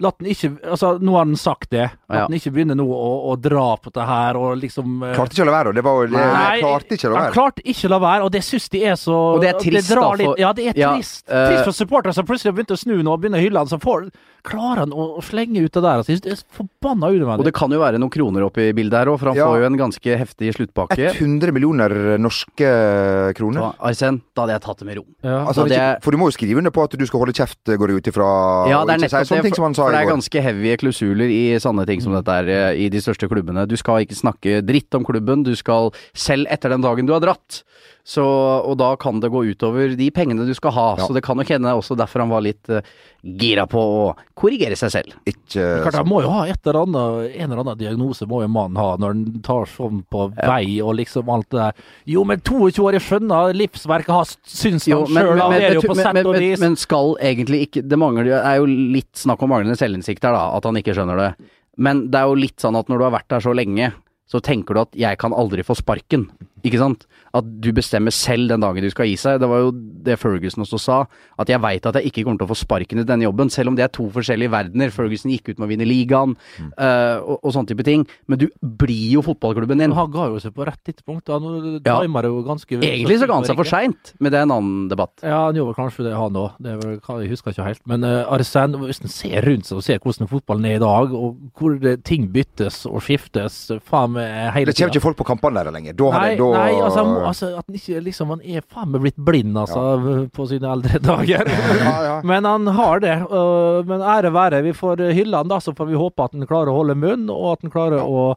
S1: La den ikke Altså, nå har han sagt det. La
S3: Ja.
S1: den ikke begynne nå å, å dra på det her og liksom øh,
S2: Klarte ikke å la være, og det var jo det.
S1: Nei,
S2: Eh, klarte ikke å la
S1: han
S2: være.
S1: klarte ikke å la være, og det syns de er så
S3: Og det er trist,
S1: drar
S3: da, for-
S1: litt- Ja, det er
S3: Ja,
S1: trist.
S3: eh,
S1: trist for supportere som plutselig har begynt å snu nå og begynner å hylle han, så får, klarer han å å slenge ut det der. Altså. Jeg synes Det er så forbanna
S3: Og
S1: unødvendig.
S3: det kan jo være noen kroner oppi bildet her òg, for han
S2: Ja.
S3: får jo en ganske heftig sluttpakke.
S2: 100 millioner norske kroner.
S3: Da, Arsen, da hadde jeg tatt det med ro.
S1: Ja.
S2: Altså, han
S3: Og
S2: ikke,
S3: det-
S2: for du må jo skrive under på at du skal holde kjeft, eh, går jeg ut ifra.
S3: Ja,
S2: og
S3: det er
S2: ikke si
S3: nettopp
S2: sånne
S3: det,
S2: ting som
S3: for,
S2: han sa
S3: for det
S2: i
S3: er
S2: går.
S3: ganske heavy klusuler i sånne ting som dette er eh, i de største klubbene. Du skal ikke snakke dritt om klubben, du skal selv etter den dagen du har dratt. Så, og da kan det gå utover de pengene du skal ha.
S2: Ja.
S3: Så det kan nok hende også derfor han var litt eh, gira på å korrigere seg selv.
S2: Ikke
S1: Klart,
S2: sant.
S1: han må jo ha et eller annet, en eller annen diagnose må jo mannen ha når han tar sånn på vei og liksom alt det der. Jo, men 22 år, jeg skjønner livsverket hans, syns han sjøl, han er jo på sett og vis.
S3: men skal egentlig ikke Det mangler, jo- er jo litt snakk om manglende selvinnsikt her, da. At han ikke skjønner det. Men det er jo litt sånn at når du har vært der så lenge, så tenker du at 'jeg kan aldri få sparken'. Ikke sant? At du bestemmer selv den dagen du skal gi seg. Det var jo det Ferguson også sa. At 'jeg veit at jeg ikke kommer til å få sparken i denne jobben', selv om det er to forskjellige verdener. Ferguson gikk ut med å vinne ligaen eh, og, og sånne type ting. Men du blir jo fotballklubben din.
S1: Men han ga jo seg på rett tidspunkt. Han
S3: Ja.
S1: timer det jo ganske
S3: Egentlig så ga han seg for seint, men det er en annen debatt.
S1: Ja, han gjorde vel kanskje det, han òg. Jeg husker ikke helt. Men uh, Arsen, hvis en ser rundt seg og ser hvordan fotballen er i dag, og hvor det, ting byttes og skiftes eh, faen meg hele
S2: Det kommer
S1: tida
S2: ikke folk på kampene der lenger. Da har
S1: Nei,
S2: det, da...
S1: nei altså, han må, altså at han ikke liksom Han er faen meg blitt blind, altså, på sine eldre dager.
S2: ja, ja.
S1: Men han har det. øh, men ære være. Vi får hylle han, da, så får vi håpe at han klarer å holde munn, og at han klarer å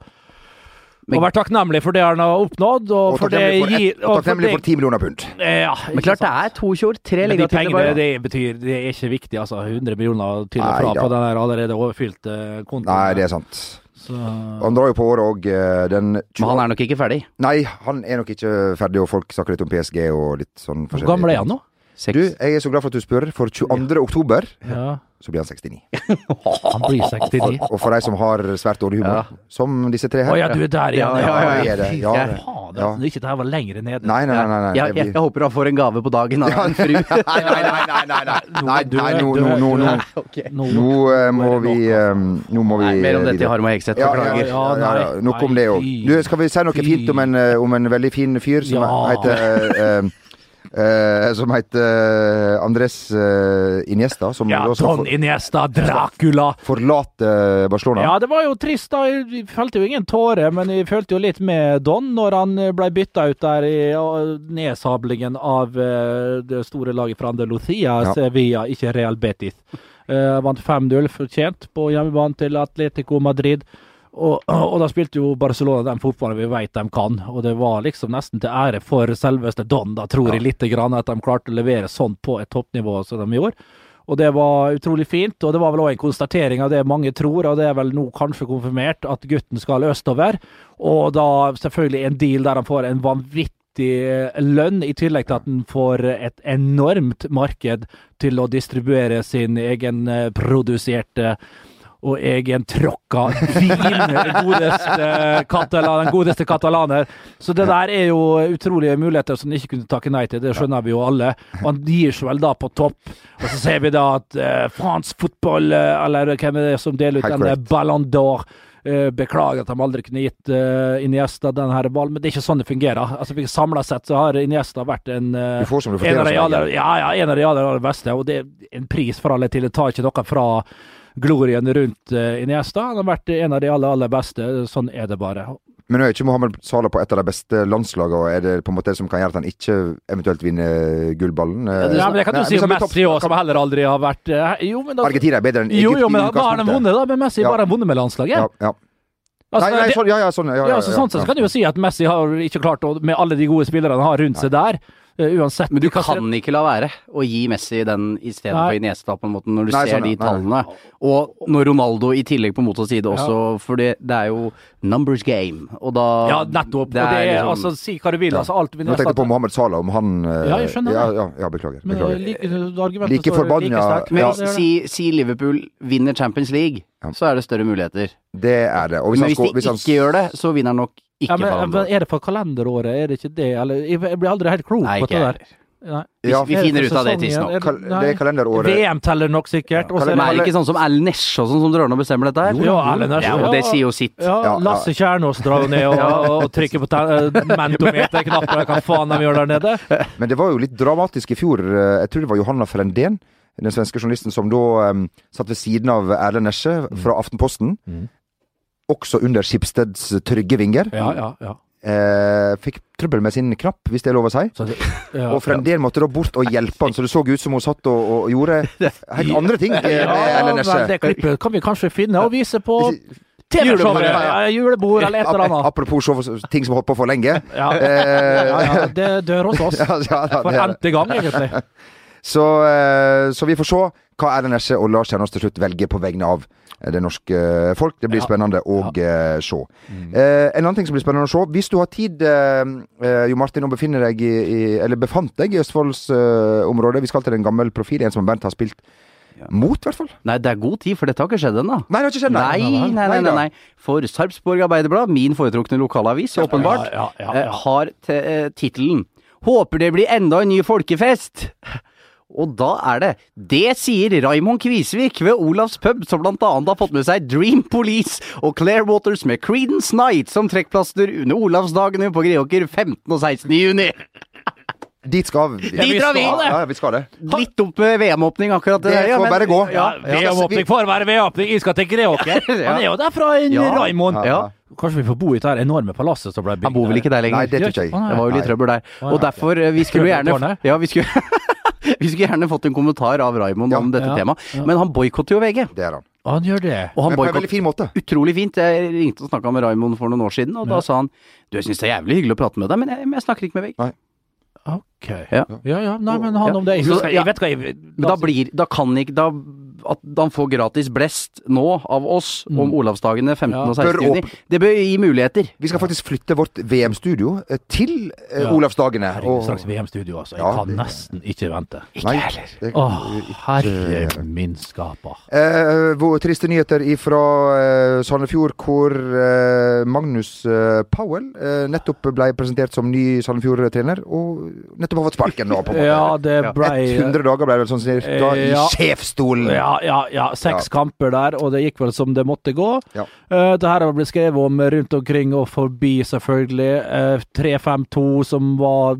S3: Men-
S1: å være takknemlig for det han har oppnådd, og,
S2: Og
S1: for det
S2: takknemlig for,
S1: gir
S2: ett- og takknemlig for
S1: det-
S2: 10 millioner pund.
S1: Eh, Ja,
S3: Men
S1: ikke
S3: klart det
S1: sant?
S3: er 22 år, tre
S1: Men de
S3: ligatitler
S1: pengene
S3: bare.
S1: det betyr, det er ikke viktig, altså. 100 millioner til og
S2: Nei
S1: fra
S2: da.
S1: på den der allerede overfylte kontoen.
S2: Nei, det er sant.
S1: Så,
S2: Han drar jo på året òg. Den
S3: Men han er nok ikke ferdig.
S2: Nei, han er nok ikke ferdig, og folk snakker litt om PSG og litt sånn
S1: hvor gammel er han nå?
S3: Seks.
S2: Du, jeg er så glad for at du spør, for 22. oktober
S1: Ja,
S2: så blir han 69.
S1: han blir 69.
S2: Og for de som har svært dårlig humor, som disse tre
S1: Å
S2: her
S1: ja, du er der igjen?
S2: Ja, ja, ja, ja, det- ja, det-
S1: Faen,
S2: ja.
S1: altså, ikke det her var lenger nede.
S2: Nei, nei, nei. nei, nei.
S3: jeg, jeg,
S2: Det
S3: jeg
S2: blir-
S3: håper han får en gave på dagen av en fru.
S2: Nei, nei, nei, nei, nei, nei. Nei,
S1: Du-
S2: nei, nå,
S1: du-
S2: nå, nå, nå.
S1: du-
S3: Ok.
S1: Nå,
S2: Nå eh, må vi eh, Nå må vi
S3: Nei, mer om dette i
S2: videre.
S3: Harmo Hegseth.
S2: Ja, ja,
S3: Beklager.
S2: ja, ja, ja.
S1: nei.
S2: Nok om det òg.
S1: Nei, fy.
S2: Du, skal vi si noe
S1: Fy.
S2: fint om en, eh, om en veldig fin fyr som
S1: Ja.
S2: heter eh, eh, eh, Som heter eh, Andres eh, Iniesta, som
S1: Ja,
S2: da skal
S1: Don
S2: for,
S1: Iniesta, Dracula.
S2: forlate eh, Barcelona.
S1: Ja, det var jo trist, da. Jeg følte jo ingen tåre, men jeg følte jo litt med Don når han eh, ble bytta ut der i ja, nedsablingen av eh, det store laget fra Andalusia,
S2: Ja.
S1: Sevilla, ikke Real Betis. Eh, vant 5-0 fortjent på hjemmebane til Atletico Madrid. Og, og da spilte jo Barcelona den fotballen vi vet de kan, og det var liksom nesten til ære for selveste Don, da tror jeg lite grann at de klarte å levere sånn på et toppnivå som de gjorde. Og det var utrolig fint, og det var vel òg en konstatering av det mange tror, og det er vel nå kanskje konfirmert, at gutten skal østover. Og da selvfølgelig en deal der han får en vanvittig vanvittig lønn, i tillegg til at han får et enormt marked til å distribuere sin eh, egenproduserte og egentråkka vin, den godeste, katala, den godeste katalaner. Så det der er jo utrolige muligheter som han ikke kunne takke nei til, det skjønner vi jo alle. Og han gir seg vel da på topp. Og så ser vi da at eh, fransk fotball, eh, eller hvem er det som deler ut
S2: Helt
S1: den eh,
S2: korrekt.
S1: Ballon d'Or eh, Beklager at de aldri kunne gitt eh, Iniesta den her ballen, men det er ikke sånn det fungerer. Altså, Samla sett så har Iniesta vært en eh,
S2: Du får som du
S1: en av de
S2: fortjener. som
S1: aller,
S2: regel.
S1: ja, ja, en av de aller, aller beste, og det er en pris for alle til. Det tar ikke noe fra glorien rundt eh, Iniesta. Han har vært en av de aller, aller beste. Sånn er det
S2: Eh,
S1: bare.
S2: Men nå er ikke Mohammed Salah på et av de beste landslagene, og er det på en måte det som kan gjøre at han ikke eventuelt vinner gullballen? Eh,
S1: Ja, men jeg kan jo
S2: nei,
S1: si
S2: hvis han
S1: om
S2: blir topp-
S1: Messi òg, som heller aldri har vært eh, Jo, men da,
S2: Argentina er bedre enn
S1: jo,
S2: Egypt
S1: jo, men da, da
S2: i
S1: har de
S2: utgangspunktet.
S1: vunnet, da. Men Messi
S2: Ja.
S1: bare har vundet med
S2: Ja,
S1: landslaget.
S2: ja.
S1: Altså,
S2: Nei, nei,
S1: det-
S2: sånn, ja, ja, sånn, ja, ja,
S1: ja, altså, sånn sett så kan du jo si at Messi har ikke klart å Med alle de gode spillerne han har rundt seg der, eh, uansett
S3: Men du
S1: hva som-
S3: kan ikke la være å gi Messi den i stedet
S1: Nei.
S3: for Iniesta, på en måte, når du
S2: Nei,
S3: ser
S2: sånn, ja.
S3: de
S2: Nei,
S3: tallene. Og når Ronaldo i tillegg på motsatt side også, for det, det er jo numbers game, og da
S1: Ja, nettopp. og det
S3: liksom-
S1: er, altså, Si hva du vil, altså. Alt
S2: Nå tenkte jeg på Mohammed Salah, om han eh,
S1: Ja, jeg skjønner det.
S2: ja, ja, ja, beklager.
S1: Men, eh,
S2: beklager.
S1: like, argumentet
S2: Like
S1: står
S2: forbanna-
S1: sterkt.
S3: Men
S2: Ja.
S1: Det er det.
S3: si, si Liverpool vinner Champions League, så er det større muligheter.
S2: Det er det. Og hvis han
S3: Men hvis de
S2: skår- hvis han-
S3: ikke gjør det, så vinner nok ikke
S1: Ja, men,
S3: Ballon d'Or.
S1: men er det for kalenderåret, er det ikke det? Eller, jeg jeg blir aldri helt klok
S3: Nei,
S1: på
S3: ikke
S1: det der.
S3: heller.
S1: Nei.
S2: Ja,
S3: vi
S1: Er det
S3: finner
S1: for
S3: ut av det
S1: sesongen?
S3: tidsnok.
S1: Er
S2: kal-
S1: Eh, nei.
S2: det er kalenderåret
S1: VM teller nok sikkert. og så er
S3: Men er
S1: det-
S3: det ikke sånn som Al Nesj og sånn som drar ned og bestemmer dette her?
S1: Jo, jo, Al Nesj,
S3: Ja, og det
S1: ja.
S3: sier jo sitt.
S2: Ja,
S1: ja,
S2: ja.
S1: Lasse Kjernås drar jo ned og, og trykker på ten- eh, mentometerknappen, eller hva faen de gjør der nede.
S2: Men det var jo litt dramatisk i fjor. Eh, Jeg tror det var Johanna Frendén, den svenske journalisten som da eh, satt ved siden av Erlend Nesje
S1: Mm.
S2: fra Aftenposten. Også under Skipsteds trygge vinger.
S1: Ja, ja, ja.
S2: Eh, fikk trøbbel med sin knapp, hvis det er lov å si.
S1: Så det, ja.
S2: Og Frendén måtte da bort og hjelpe han, så det så ut som hun satt og, og gjorde helt andre ting. eh, med
S1: Ja,
S2: Erlend
S1: men
S2: Nesje.
S1: det klippet kan vi kanskje finne og vise på
S2: Julebord,
S1: TV-showet.
S2: ja, ja.
S1: Ja, Julebord eller et eller
S2: Ap-
S1: annet.
S2: Apropos show, ting som holdt på for lenge.
S1: Ja,
S2: Eh,
S1: ja, ja det dør hos oss.
S2: ja, ja, ja,
S1: For
S2: det er det.
S1: n-te gang, egentlig.
S2: Så, eh, så vi får se hva Erlend Esje og Lars Kjernås til slutt velger på vegne av eh, det norske eh, folk. Det blir
S1: Ja.
S2: spennende å eh, se. Eh, en annen ting som blir spennende å se, hvis du har tid, eh, eh, Jo Martin, og befinner deg i, i eller befant deg i Østfoldsområdet eh, området. Vi skal til en gammel profil, en som Bernt har spilt mot, i hvert fall.
S3: Nei, det er god tid, for dette har ikke skjedd ennå.
S2: Nei, det har ikke skjedd,
S3: Nei, nei, nei, nei, nei. For Sarpsborg Arbeiderblad, min foretrukne lokalavis, åpenbart,
S1: Ja, ja, ja, ja.
S3: eh, har te- eh, tittelen 'Håper det blir enda en ny folkefest'. Og da er det Det sier Raymond Kvisvik ved Olavs pub, som blant annet har fått med seg Dream Police og Clairwaters med Creedence Night som trekkplaster under Olavsdagene på Greåker 15. og 16. juni.
S2: Dit skal vi.
S3: Dit drar vi!
S2: Ja, ja, vi skal det.
S3: Litt opp med VM-åpning akkurat
S2: Det
S3: der, ja,
S2: får
S3: men-
S2: bare gå.
S3: Ja, altså,
S2: Ja,
S1: VM-åpning får være VM-åpning. Jeg skal til Greåker.
S3: Ja.
S1: Han er jo derfra, en
S3: Ja.
S1: Raymond.
S3: Ja.
S1: Kanskje vi får bo i dette her enorme palasset som ble bygd
S3: Han bor vel ikke der lenger?
S2: Nei, det tror ikke jeg.
S1: Nei.
S3: Det var jo litt trøbbel der. Og derfor, eh, vi skulle
S1: Trøbbel
S3: jo
S1: i
S3: gjerne
S1: tårnet?
S3: Ja, vi skulle Vi skulle gjerne fått en kommentar av Raymond om dette
S1: Ja,
S3: temaet, men han boikotter jo VG.
S2: Det er han.
S1: Og han gjør det.
S3: Og han
S2: Men på en veldig
S3: boikott
S2: fin måte.
S3: utrolig fint. Jeg ringte og snakka med Raymond for noen år siden, og da sa han Du, jeg syns det er jævlig hyggelig å prate med deg, men jeg, men jeg snakker ikke med VG.
S1: Ok.
S3: Ja.
S1: Ja, ja. Nei, men han
S3: Ja.
S1: om det. Jeg,
S3: Så-
S1: husker,
S3: ja.
S1: jeg vet hva jeg
S3: Men da blir Da kan ikke Da at han får gratis blest nå av oss
S1: Mm.
S3: om Olavsdagene 15. og
S2: Bør
S3: 16. juni. Det bør gi muligheter.
S2: Vi skal faktisk flytte vårt VM-studio eh, til eh,
S1: Ja.
S2: Olavsdagene.
S1: Herregud,
S2: og-
S1: straks VM-studio, altså. Jeg
S2: Ja,
S1: kan
S2: det-
S1: nesten ikke vente.
S2: Nei, det kan
S1: Å,
S2: vi ikke gjøre.
S1: herre min skaper.
S2: Eh, hvor, triste nyheter fra Sandefjord, hvor eh, Magnus eh, Powell eh, nettopp ble presentert som ny Sandefjord-trener, og nettopp har fått sparken nå, på en måte.
S1: Ja, det blei
S2: 100 dager ble det vel sånn
S1: Ja.
S2: cirka i sjefsstolen.
S1: Ja, ja, ja. Seks kamper der, og det gikk vel som det måtte gå.
S2: Ja.
S1: Eh, det her har blitt skrevet om rundt omkring og forbi, selvfølgelig. Eh, 3-5-2 som var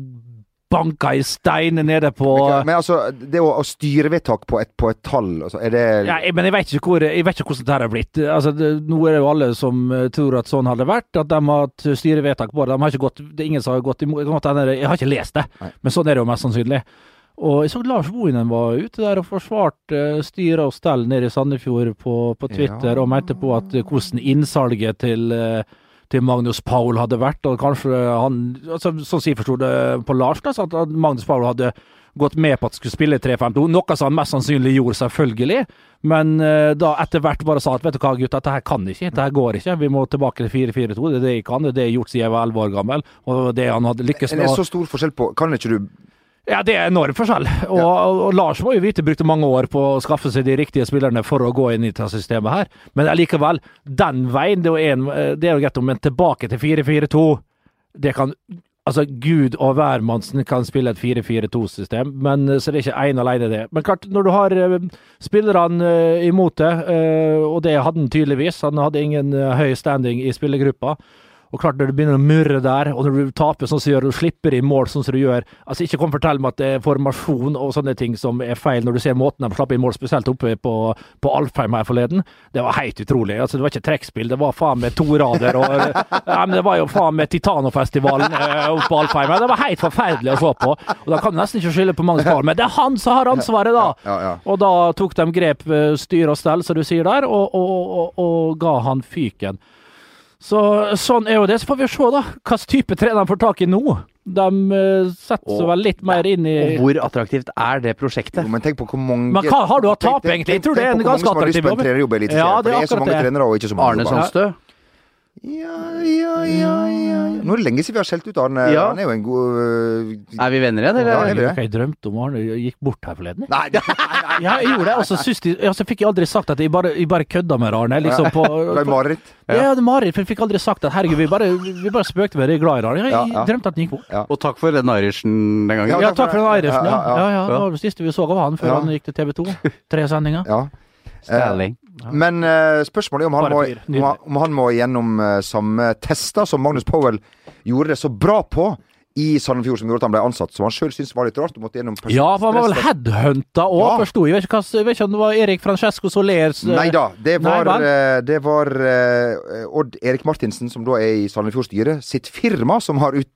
S1: banka i stein nede på
S2: Men altså, det å, å styrevedtak på et, på et tall, altså, er det
S1: ja, jeg- men jeg vet, ikke hvor, jeg vet ikke hvordan det her har blitt. Altså, det, nå er det jo alle som eh, tror at sånn har det vært, at de har hatt styrevedtak på det. De har ikke gått, det er ingen som har gått imot det. kan godt hende det- Jeg har ikke lest det, men sånn er det jo mest sannsynlig. Og jeg så Lars Bohinen var ute der og forsvarte eh, styre og stell nede i Sandefjord på, på Twitter,
S2: Ja.
S1: og mente på at eh, hvordan innsalget til eh, til Magnus Paul hadde vært, og kanskje han altså, Sånn som jeg forsto det på Lars, da, så at at Magnus Paul hadde gått med på at skulle spille 3-5-2, noe som han mest sannsynlig gjorde, selvfølgelig. Men eh, da etter hvert bare sa at vet du hva, gutta, dette her kan ikke, dette her går ikke. Vi må tilbake til 4-4-2. Det er det jeg kan, det er det jeg har gjort siden jeg var 11 år gammel. Og det han hadde lykkes
S2: Men
S1: med.
S2: det
S1: å-
S2: er så stor forskjell på Kan ikke du
S1: ja, det er enorm forskjell. Og, og Lars må jo vite brukte mange år på å skaffe seg de riktige spillerne for å gå inn i dette systemet her. Men allikevel, den veien Det er jo, en, det er jo greit, men tilbake til 4-4-2 Det kan Altså, Gud og hvermannsen kan spille et 4-4-2-system, men eh, så det er ikke ene alene det. Men klart, når du har eh, spillerne eh, imot deg, eh, og det hadde han tydeligvis, han hadde ingen eh, høy standing i spillergruppa, og klart når du begynner å murre der, og når du taper sånn som du gjør, og slipper i mål sånn som du gjør Altså Ikke kom og fortell meg at det er formasjon og sånne ting som er feil, når du ser måten de slapp inn mål, spesielt oppe på, på Alfheim her forleden. Det var helt utrolig. Altså Det var ikke trekkspill, det var faen meg to rader og Nei, men Det var jo faen meg Titanofestivalen eh, oppe på Alfheim. her. Det var helt forferdelig å se på. Og Da kan du nesten ikke skylde på Magnus Carl, men det er han som har ansvaret, da!
S2: Ja, ja.
S1: Og da tok de grep, eh, styr og stell, som du sier der, og, og, og, og ga han fyken. Så sånn er jo det. Så får vi se, da. Hva slags type trener de får tak i nå. De eh, setter seg
S3: Og-
S1: vel litt mer inn i
S3: Og hvor attraktivt er det prosjektet?
S2: Jo, men tenk på hvor mange
S1: Men hva har du å tape,
S2: Tenk- tenk-
S1: egentlig? Jeg tror
S2: tenk
S1: det er en
S2: på hvor mange
S1: ganske
S2: som har lyst
S1: attraktiv
S2: på
S1: jobb.
S2: en trenerjobb i Eliteserien,
S1: Ja,
S2: for
S1: det er
S2: det er så
S1: akkurat
S2: mange
S1: det.
S2: trenere og ikke så mange
S3: Arne
S2: jobber.
S3: Sandstø?
S2: Ja, ja, ja, ja, ja. Nå er det lenge siden vi har skjelt ut Arne.
S3: Ja.
S2: Han er jo en god øh,
S3: Er vi venner igjen,
S2: Ja,
S3: eller?
S2: er vi det?
S1: Hva jeg drømte om Arne jeg gikk bort her forleden.
S2: Nei, det
S1: Ja, jeg gjorde det, og så syns de- ja, så fikk jeg aldri sagt at jeg bare, jeg bare kødda med Arne. Liksom på,
S2: var et mareritt.
S1: ja, det er Marit, for jeg fikk aldri sagt at herregud, vi bare, vi bare spøkte med det, jeg er glad i Arne. Jeg,
S2: Ja, ja.
S1: drømte at han gikk bort.
S3: Og takk for den Irischen den gangen.
S1: Ja, takk for den Irishman, ja.
S2: Ja,
S1: Ja, ja, det var det siste vi så av han før
S2: Ja.
S1: han gikk til TV 2. Tre sendinger.
S2: Ja.
S3: Stirling.
S2: Men eh, spørsmålet er om han,
S1: Bare
S2: må,
S1: fyr.
S2: om, han- om han må gjennom eh, samme tester som Magnus Powell gjorde det så bra på i Sandefjord, som gjorde at han ble ansatt, som han sjøl syntes var litt rart. Du måtte gjennom pers-
S1: Ja, for han var vel
S2: stresstest.
S1: headhunta òg,
S2: Ja.
S1: forsto jeg. Vet ikke, hva, jeg vet ikke om det var Erik Francesco eh, Soler
S2: Nei da, det
S1: Nei,
S2: var,
S1: vel.
S2: eh, det var eh, Odd Erik Martinsen, som da er i Sandefjord styre, sitt firma som har utgjort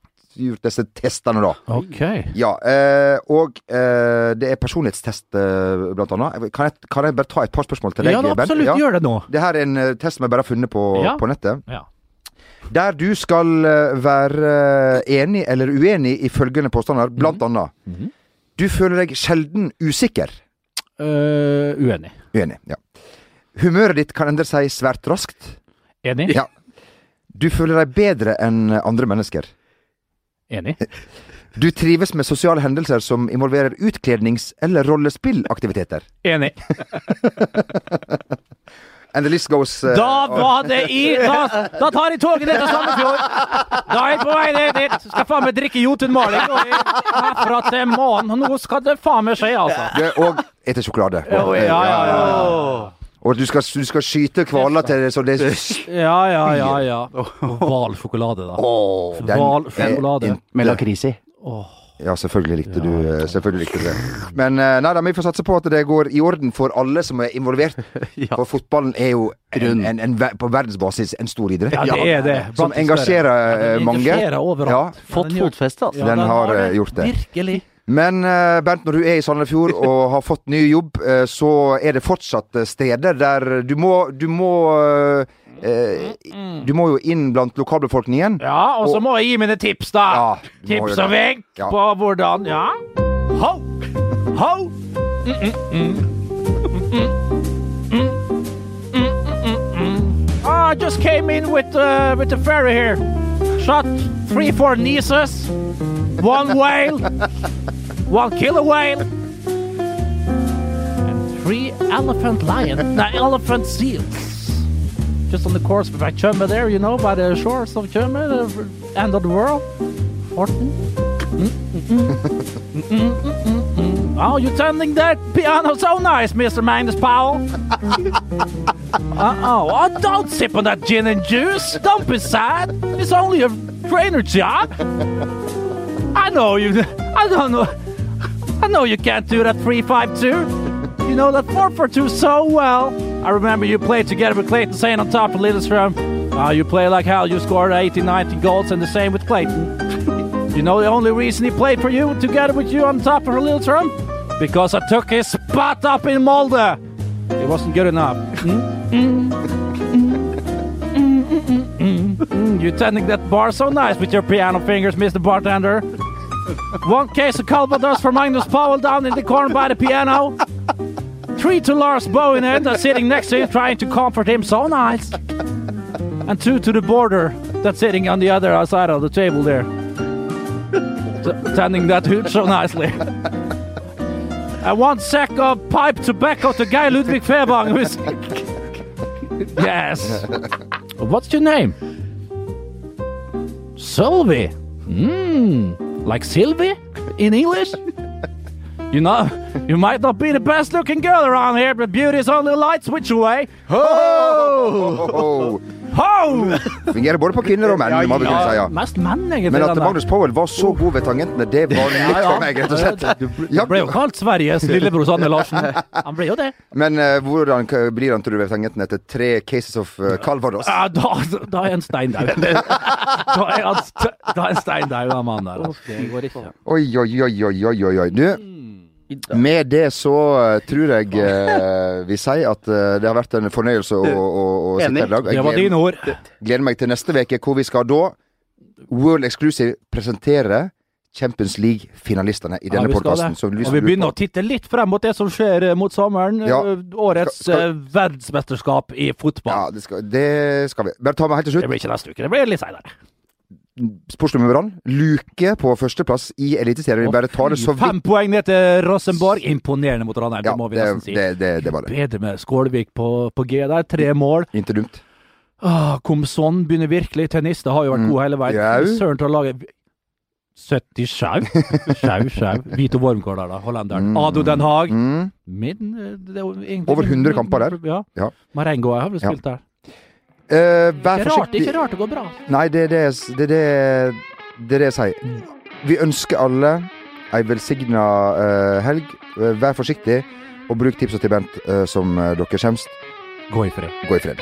S2: disse testene, da.
S1: Ok.
S2: Ja, eh, og eh, det er personlighetstest, eh, blant annet. Kan jeg, kan jeg bare ta et par spørsmål til deg,
S1: Ja, da,
S2: Bent?
S1: absolutt. Gjør det nå.
S2: Det her er en eh, test som jeg bare har funnet på,
S1: Ja.
S2: på nettet.
S1: Ja.
S2: Der du skal eh, være eh, enig eller uenig i følgende påstander, blant
S1: Mhm.
S2: annet. Du føler deg sjelden usikker.
S1: Eh, uenig.
S2: Uenig, ja. Humøret ditt kan endre seg svært raskt.
S1: Enig?
S2: Ja. Du føler deg bedre enn andre mennesker.
S1: Enig.
S2: Du trives med sosiale hendelser som involverer utklednings- eller rollespillaktiviteter.
S1: Enig.
S2: And the list goes eh,
S1: Da
S2: on.
S1: var det i Da, da tar jeg toget ned til Sandefjord! Da er jeg på vei ned dit! Skal faen meg drikke Jotunmaling og jeg- herfra til månen. Nå skal det faen meg skje, altså.
S2: Du, Og etter sjokolade.
S1: Ja, ja, ja. ja.
S2: Og du skal, du skal skyte hvaler til det, så det
S1: Ja, ja, ja. ja. Hvalsjokolade, da.
S2: Åh, den-
S1: Hvalsjokolade.
S3: Med lakris i.
S2: Ja, selvfølgelig likte du eh, Selvfølgelig likte du det. Men eh, nei da, vi får satse på at det går i orden for alle som er involvert.
S3: Ja.
S2: For fotballen er jo en,
S3: Grunn.
S2: en, en, ver- på verdensbasis en stor idrett.
S1: Ja, det er det.
S2: Som
S1: Blant de
S2: engasjerer
S1: større.
S2: eh,
S1: Den
S2: mange.
S1: engasjerer overalt.
S2: Ja.
S3: Fått
S1: Den gjør-
S3: fotfeste,
S1: Ja,
S3: altså.
S2: Den har, eh, gjort det.
S1: Virkelig.
S2: Men eh, Bernt, når du er i Sandefjord og har fått ny jobb, eh, så er det fortsatt eh, steder der du må Du må, eh, eh, du må jo inn blant lokalbefolkningen.
S1: Mm. Ja, og så må jeg gi mine tips, da.
S2: Ja, du må
S1: tips
S2: gjøre
S1: og
S2: det.
S1: vink
S2: Ja.
S1: på hvordan Ja. Ho! Ho! Mm, mm, mm. Mm, mm, mm, mm, mm. Ah, I just came in with uh, with the ferry here. Shot three, four nieces, one whale, one killer whale, and three elephant lion, no, elephant seals just on the course by Chumba there, you know, by the shores of Chumba, the end of the world. Horton. Mm, mm, mm. Mm, mm, mm, mm, mm. Oh, you're turning that piano so nice, Mr. Magnus Powell. Uh-oh. Oh, don't sip on that gin and juice. Don't be sad. It's only a trainer job. I know you. I don't know. I know you can't do that 352. You know that 442 so well. I remember you played together with Clayton Sane on top of Lidlstrom. Uh, you play like hell. You scored 80, 90 goals, and the same with Clayton. You know the only reason he played for you together with you on top of Lidlstrom? Because I took his spot up in Molde. It wasn't good enough. Mm, mm, mm, mm, mm, mm, mm, mm. You're tending that bar so nice with your piano fingers, Mr. Bartender. One case of Calvados for Magnus Powell down in the corner by the piano. Three to Lars Bohinen sitting next to him trying to comfort him. So nice. And two to the border that's sitting on the other side of the table there. T- tending that hood so nicely. And one sack of pipe tobacco to Guy Ludwig Fairbang. Who's... Yes. What's your name? Sylvie. Mmm. Like Sylvie in English? You know, you might not be the best looking girl around here, but beauty is only a light switch away.
S2: Ho,
S1: Ho!
S2: ho. Oh, Fungerer både på kvinner og menn, må vi kunne si. ja
S1: Mest menn, egentlig.
S2: Men at
S1: den der.
S2: Magnus Powell var så god ved tangentene, det var nytt for meg, rett og slett. Ja,
S1: ble jo kalt Sveriges lillebror Sanne Larsen. Han ble jo det.
S2: men eh, hvordan k- blir han, tror du, ved tangentene etter tre cases of eh, Calvados?
S1: Ja, da, altså, da er en stein daud. Da er han st- da er en stein daud, den mannen der. altså. Det går ikke.
S2: Oi, oi, oi, oi, oi, oi, oi. Du,
S1: Mm.
S2: med det så eh, tror jeg eh, vi sier at eh, det har vært en fornøyelse å, å, å sitte
S3: Enig.
S2: her i dag.
S1: Det var dine ord.
S2: gleder meg til neste uke, hvor vi skal da, World Exclusive, presentere Champions League-finalistene i
S1: Ja,
S2: denne
S1: vi skal
S2: podkasten.
S1: det. Og vi begynner å titte litt frem mot det som skjer eh, mot sommeren.
S2: Ja.
S1: Eh, Årets
S2: Skal- skal-
S1: eh, verdensmesterskap i
S2: Ja,
S1: fotball.
S2: det skal, det skal vi. Bare ta med helt til
S1: Det
S2: slutt.
S1: blir ikke neste uke, det blir litt seinere.
S2: Sportsklubben Brann. Luke på førsteplass i Eliteserien. Vi bare tar det så
S1: Fem
S2: vidt.
S1: poeng ned til Rosenborg. Imponerende mot Ranheim,
S2: Ja,
S1: det må vi
S2: det,
S1: nesten si.
S2: det, det, det var det.
S1: Bedre med Skålvik på, på G der. Tre mål.
S2: Inte dumt.
S1: Ah, Komson begynner virkelig. Tennister har jo vært gode hele veien.
S2: Mm. Jau.
S1: Søren til å lage 70 sjau. Sjau, sjau. Vito Wormgård der, da. Hollenderen. Ado Den Haag.
S2: Mm.
S1: Min, eh, det er jo egentlig,
S2: Over 100 kamper der.
S1: Ja.
S2: Ja.
S1: Marengo har vel
S2: Ja.
S1: spilt der.
S2: Eh, vær
S1: Ikke rart,
S2: forsiktig.
S1: ikke rart det går bra.
S2: Nei, det er det, jeg- det, er det, det, er det jeg sier. Vi ønsker alle ei velsigna eh, helg. Eh, Vær forsiktig, og bruk tipsa til Bent eh, som eh, dere kommer.
S1: Gå i fred.
S2: Gå i fred.